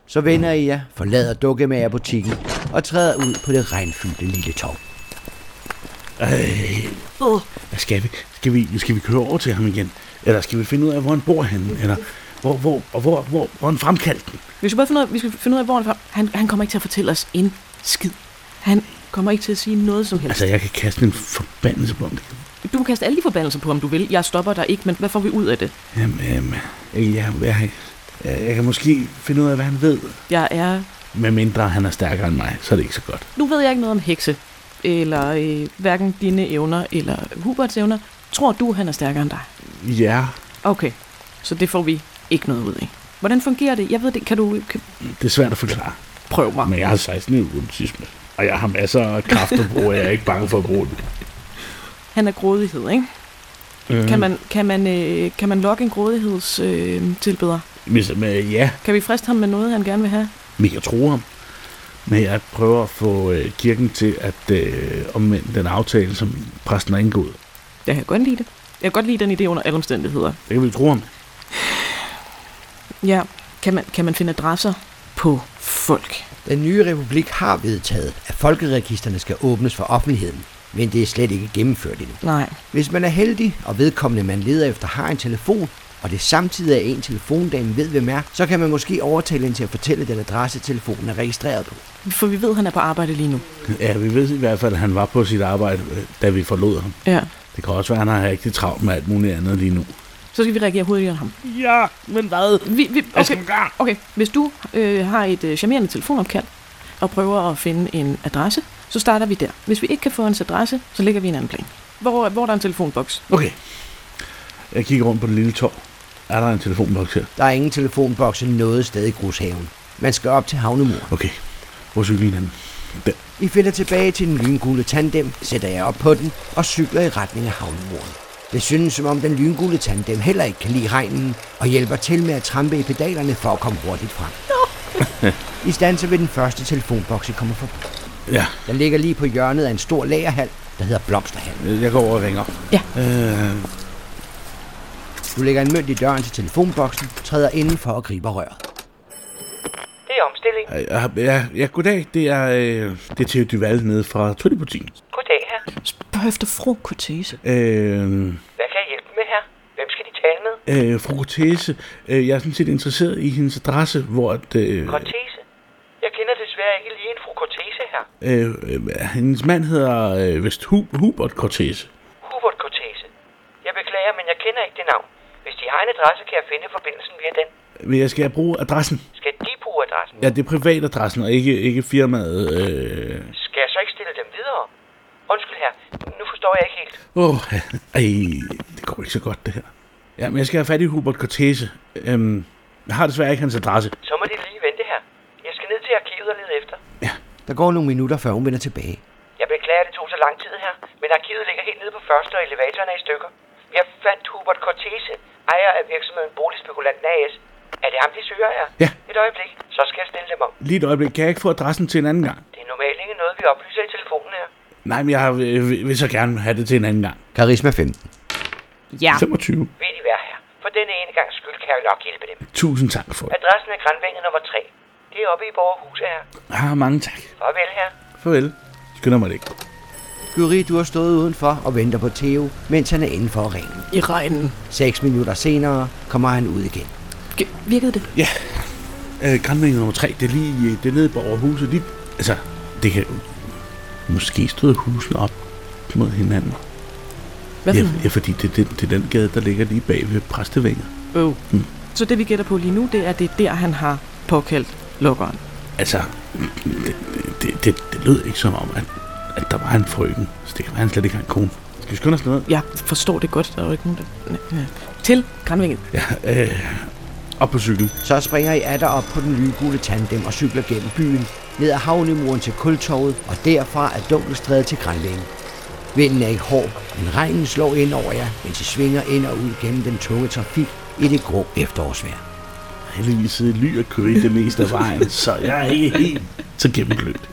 [SPEAKER 1] Så vender I jer, forlader dukkemagerbutikken og træder ud på det regnfyldte lille torv.
[SPEAKER 2] Hvad skal vi? Skal vi, skal vi køre over til ham igen? Eller skal vi finde ud af, hvor han bor henne? Eller hvor, hvor, og hvor, hvor, hvor han fremkaldte den?
[SPEAKER 3] Vi skal bare finde ud af, vi skal finde ud af hvor han er fra. Han, han kommer ikke til at fortælle os en skid. Han kommer ikke til at sige noget som helst.
[SPEAKER 2] Altså, jeg kan kaste en forbandelse på ham.
[SPEAKER 3] Du må kaste alle de forbandelser på, om du vil. Jeg stopper dig ikke, men hvad får vi ud af det?
[SPEAKER 2] Jamen, øhm, jamen, jeg, jeg, Øh, jeg, jeg kan måske finde ud af, hvad han ved.
[SPEAKER 3] Jeg er...
[SPEAKER 2] Med mindre han er stærkere end mig, så er det ikke så godt.
[SPEAKER 3] Nu ved jeg ikke noget om hekse. Eller øh, hverken dine evner eller Huberts evner. Tror du, han er stærkere end dig?
[SPEAKER 2] Ja,
[SPEAKER 3] Okay, så det får vi ikke noget ud af. Hvordan fungerer det? Jeg ved det. Kan du kan...
[SPEAKER 2] det er svært at forklare.
[SPEAKER 3] prøve mig?
[SPEAKER 2] Men jeg har 16 i autisme. Og jeg har masser af kræfter på, og jeg er ikke bange for at bruge dem.
[SPEAKER 3] Han er grådighed, ikke? Mm. Kan man, kan man, øh, kan man lokke en grådighedstilbeder? Øh, tilbeder?
[SPEAKER 2] Hvis, Øhm, men, ja,
[SPEAKER 3] kan vi friste ham med noget, han gerne vil have?
[SPEAKER 2] vi kan tro ham. Men jeg prøver at få øh, kirken til at øh, omvende den aftale, som præsten har indgået.
[SPEAKER 3] Jeg kan godt lide det. Jeg kan godt lide den idé under alle omstændigheder.
[SPEAKER 2] Det kan vi tro ham.
[SPEAKER 3] Ja, kan man, kan man finde adresser på folk?
[SPEAKER 1] Den nye republik har vedtaget, at folkeregisterne skal åbnes for offentligheden, men det er slet ikke gennemført endnu.
[SPEAKER 3] Nej.
[SPEAKER 1] Hvis man er heldig, og vedkommende man leder efter har en telefon, og det samtidig er en telefondame ved, hvem er, så kan man måske overtale hende til at fortælle den adresse, telefonen er registreret på.
[SPEAKER 3] For vi ved, at han er på arbejde lige nu.
[SPEAKER 2] Ja, vi ved i hvert fald, at han var på sit arbejde, øh, da vi forlod ham.
[SPEAKER 3] Ja.
[SPEAKER 2] Det kan også være, at han har rigtig travlt med alt muligt andet lige nu.
[SPEAKER 3] Så skal vi reagere hurtigere end ham. Altså,
[SPEAKER 2] Ja, men hvad?
[SPEAKER 3] Øh, Vi, vi,
[SPEAKER 2] Jeg
[SPEAKER 3] okay.
[SPEAKER 2] skal gøre.
[SPEAKER 3] okay, hvis du øh, har et øh, charmerende telefonopkald og prøver at finde en adresse, så starter vi der. Hvis vi ikke kan få hans adresse, så lægger vi en anden plan. Hvor, hvor er der en telefonboks?
[SPEAKER 2] Okay. Jeg kigger rundt på det lille torv. Er der en telefonboks her?
[SPEAKER 1] Der er ingen telefonbokse noget sted i grushaven. Man skal op til havnemuren.
[SPEAKER 2] Okay. Hvor er cyklen henne? Der.
[SPEAKER 1] I finder tilbage til den lyngule tandem, sætter jeg op på den og cykler i retning af havnemuren. Det synes som om den lyngule tandem heller ikke kan lide regnen og hjælper til med at trampe i pedalerne for at komme hurtigt frem. I stanser ved den første telefonboks, I kommer forbi.
[SPEAKER 2] Ja,
[SPEAKER 1] Den ligger lige på hjørnet af en stor lagerhal, der hedder Blomsterhal.
[SPEAKER 2] øh, jeg går over og ringer.
[SPEAKER 3] Ja.
[SPEAKER 2] Øh,
[SPEAKER 1] Du lægger en mønt i døren til telefonboksen, træder indenfor og griber røret.
[SPEAKER 5] Det er omstilling.
[SPEAKER 2] ja, ja, ja, goddag. Det er, øh, det er Theo Duval nede fra Tøttebutikken.
[SPEAKER 5] Goddag her.
[SPEAKER 3] Spørg efter fru Cortese.
[SPEAKER 2] Øh,
[SPEAKER 5] Hvad kan jeg hjælpe med her? Hvem skal de tale med?
[SPEAKER 2] øh, fru Cortese, øh, jeg er sådan set interesseret i hendes adresse, hvor at, øh,
[SPEAKER 5] Cortese? Jeg kender desværre ikke lige en fru Cortese her.
[SPEAKER 2] øh, øh, hendes mand hedder øh, vist Hu- Hubert Cortese.
[SPEAKER 5] Hubert Cortese. Jeg beklager, men jeg kender ikke det navn. Hvis de har en adresse, kan jeg finde forbindelsen via den.
[SPEAKER 2] Men jeg skal bruge adressen.
[SPEAKER 5] Skal de bruge adressen?
[SPEAKER 2] Ja, det er privatadressen, og ikke, ikke firmaet. Øh.
[SPEAKER 5] Skal jeg så ikke stille dem videre? Undskyld her, nu forstår jeg ikke helt.
[SPEAKER 2] Oh, ej, det går ikke så godt, det her. Ja, men jeg skal have fat i Hubert Cortese. Øhm, jeg har desværre ikke hans adresse.
[SPEAKER 5] Så må de lige vente her. Jeg skal ned til arkivet og lede efter.
[SPEAKER 1] Der går nogle minutter, før hun vender tilbage.
[SPEAKER 5] Jeg beklager, det tog så lang tid her, men arkivet ligger helt nede på første, og elevatoren er i stykker. Jeg fandt Hubert Cortese, ejer af virksomheden Boligspekulanten AS. Er det ham, de søger her?
[SPEAKER 2] Ja.
[SPEAKER 5] Et øjeblik, så skal jeg stille dem om.
[SPEAKER 2] Lige et øjeblik, kan jeg ikke få adressen til en anden gang?
[SPEAKER 5] Det er normalt ikke noget, vi oplyser i telefonen her.
[SPEAKER 2] Nej, men jeg har- øh, vil vil så gerne have det til en anden gang.
[SPEAKER 1] Karisma 15.
[SPEAKER 3] Ja.
[SPEAKER 2] 25.
[SPEAKER 5] Vil de være her? For denne ene gang skyld kan jeg nok hjælpe dem.
[SPEAKER 2] Tusind tak for det.
[SPEAKER 5] Adressen er Grandvænget nummer 3. Det er oppe i Borgerhuset her.
[SPEAKER 2] Ah, mange tak.
[SPEAKER 5] Farvel her.
[SPEAKER 2] Farvel. Skynder mig det ikke.
[SPEAKER 1] Gyri, du har stået udenfor og venter på Theo, mens han er indenfor og ringer.
[SPEAKER 3] I regnen.
[SPEAKER 1] Seks minutter senere kommer han ud igen.
[SPEAKER 3] G- virkede det?
[SPEAKER 2] Ja. Øh, Grandvæg nummer 3, det er lige øh, det er nede på overhuset. Lige, altså, det kan... Måske støde husene op mod hinanden.
[SPEAKER 3] Hvad for
[SPEAKER 2] Ja,
[SPEAKER 3] noget?
[SPEAKER 2] ja fordi det, det, det er den gade, der ligger lige bag ved præstevænget.
[SPEAKER 3] Oh. Mm. Så det vi gætter på lige nu, det er, at det er der, han har påkaldt lukkeren.
[SPEAKER 2] Altså, det, det, det, det lød ikke som om, at, at der var en frøken. Så det kan være, han slet ikke har en kone. Skal vi skynde os noget?
[SPEAKER 3] Jeg forstår det godt, der er jo ikke nogen, der... Ja. Til Grandvinget.
[SPEAKER 2] Ja, øh, op på cyklen.
[SPEAKER 1] Så springer I atter op på den lyggule tandem og cykler gennem byen, ned ad havnemuren til Kultorvet og derfra ad Dunkelstræde til Grænlænge. Vinden er ikke hård, men regnen slår ind over jer, mens I svinger ind og ud gennem den tunge trafik i det grå efterårsvejr.
[SPEAKER 2] Heldigvis sidder ly og kører det meste af vejen, så jeg er ikke helt så gennemglødt.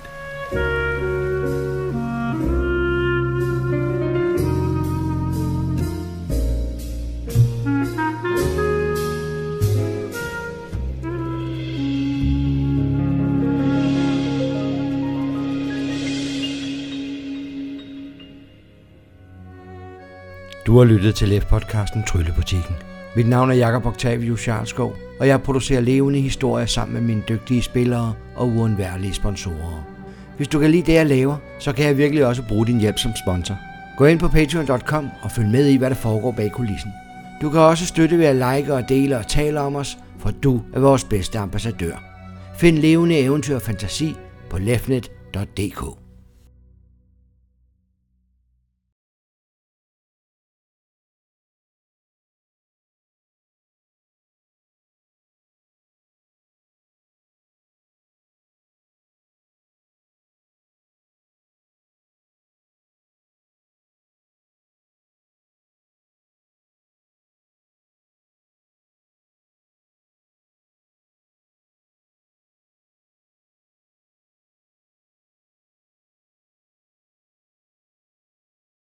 [SPEAKER 1] Du har lyttet til LEF-podcasten Tryllebutikken. Mit navn er Jakob Octavius Charleskov, og jeg producerer levende historier sammen med mine dygtige spillere og uundværlige sponsorer. Hvis du kan lide det, jeg laver, så kan jeg virkelig også bruge din hjælp som sponsor. Gå ind på patreon.com og følg med i, hvad der foregår bag kulissen. Du kan også støtte ved at like og dele og tale om os, for du er vores bedste ambassadør. Find levende eventyr og fantasi på lefnet.dk.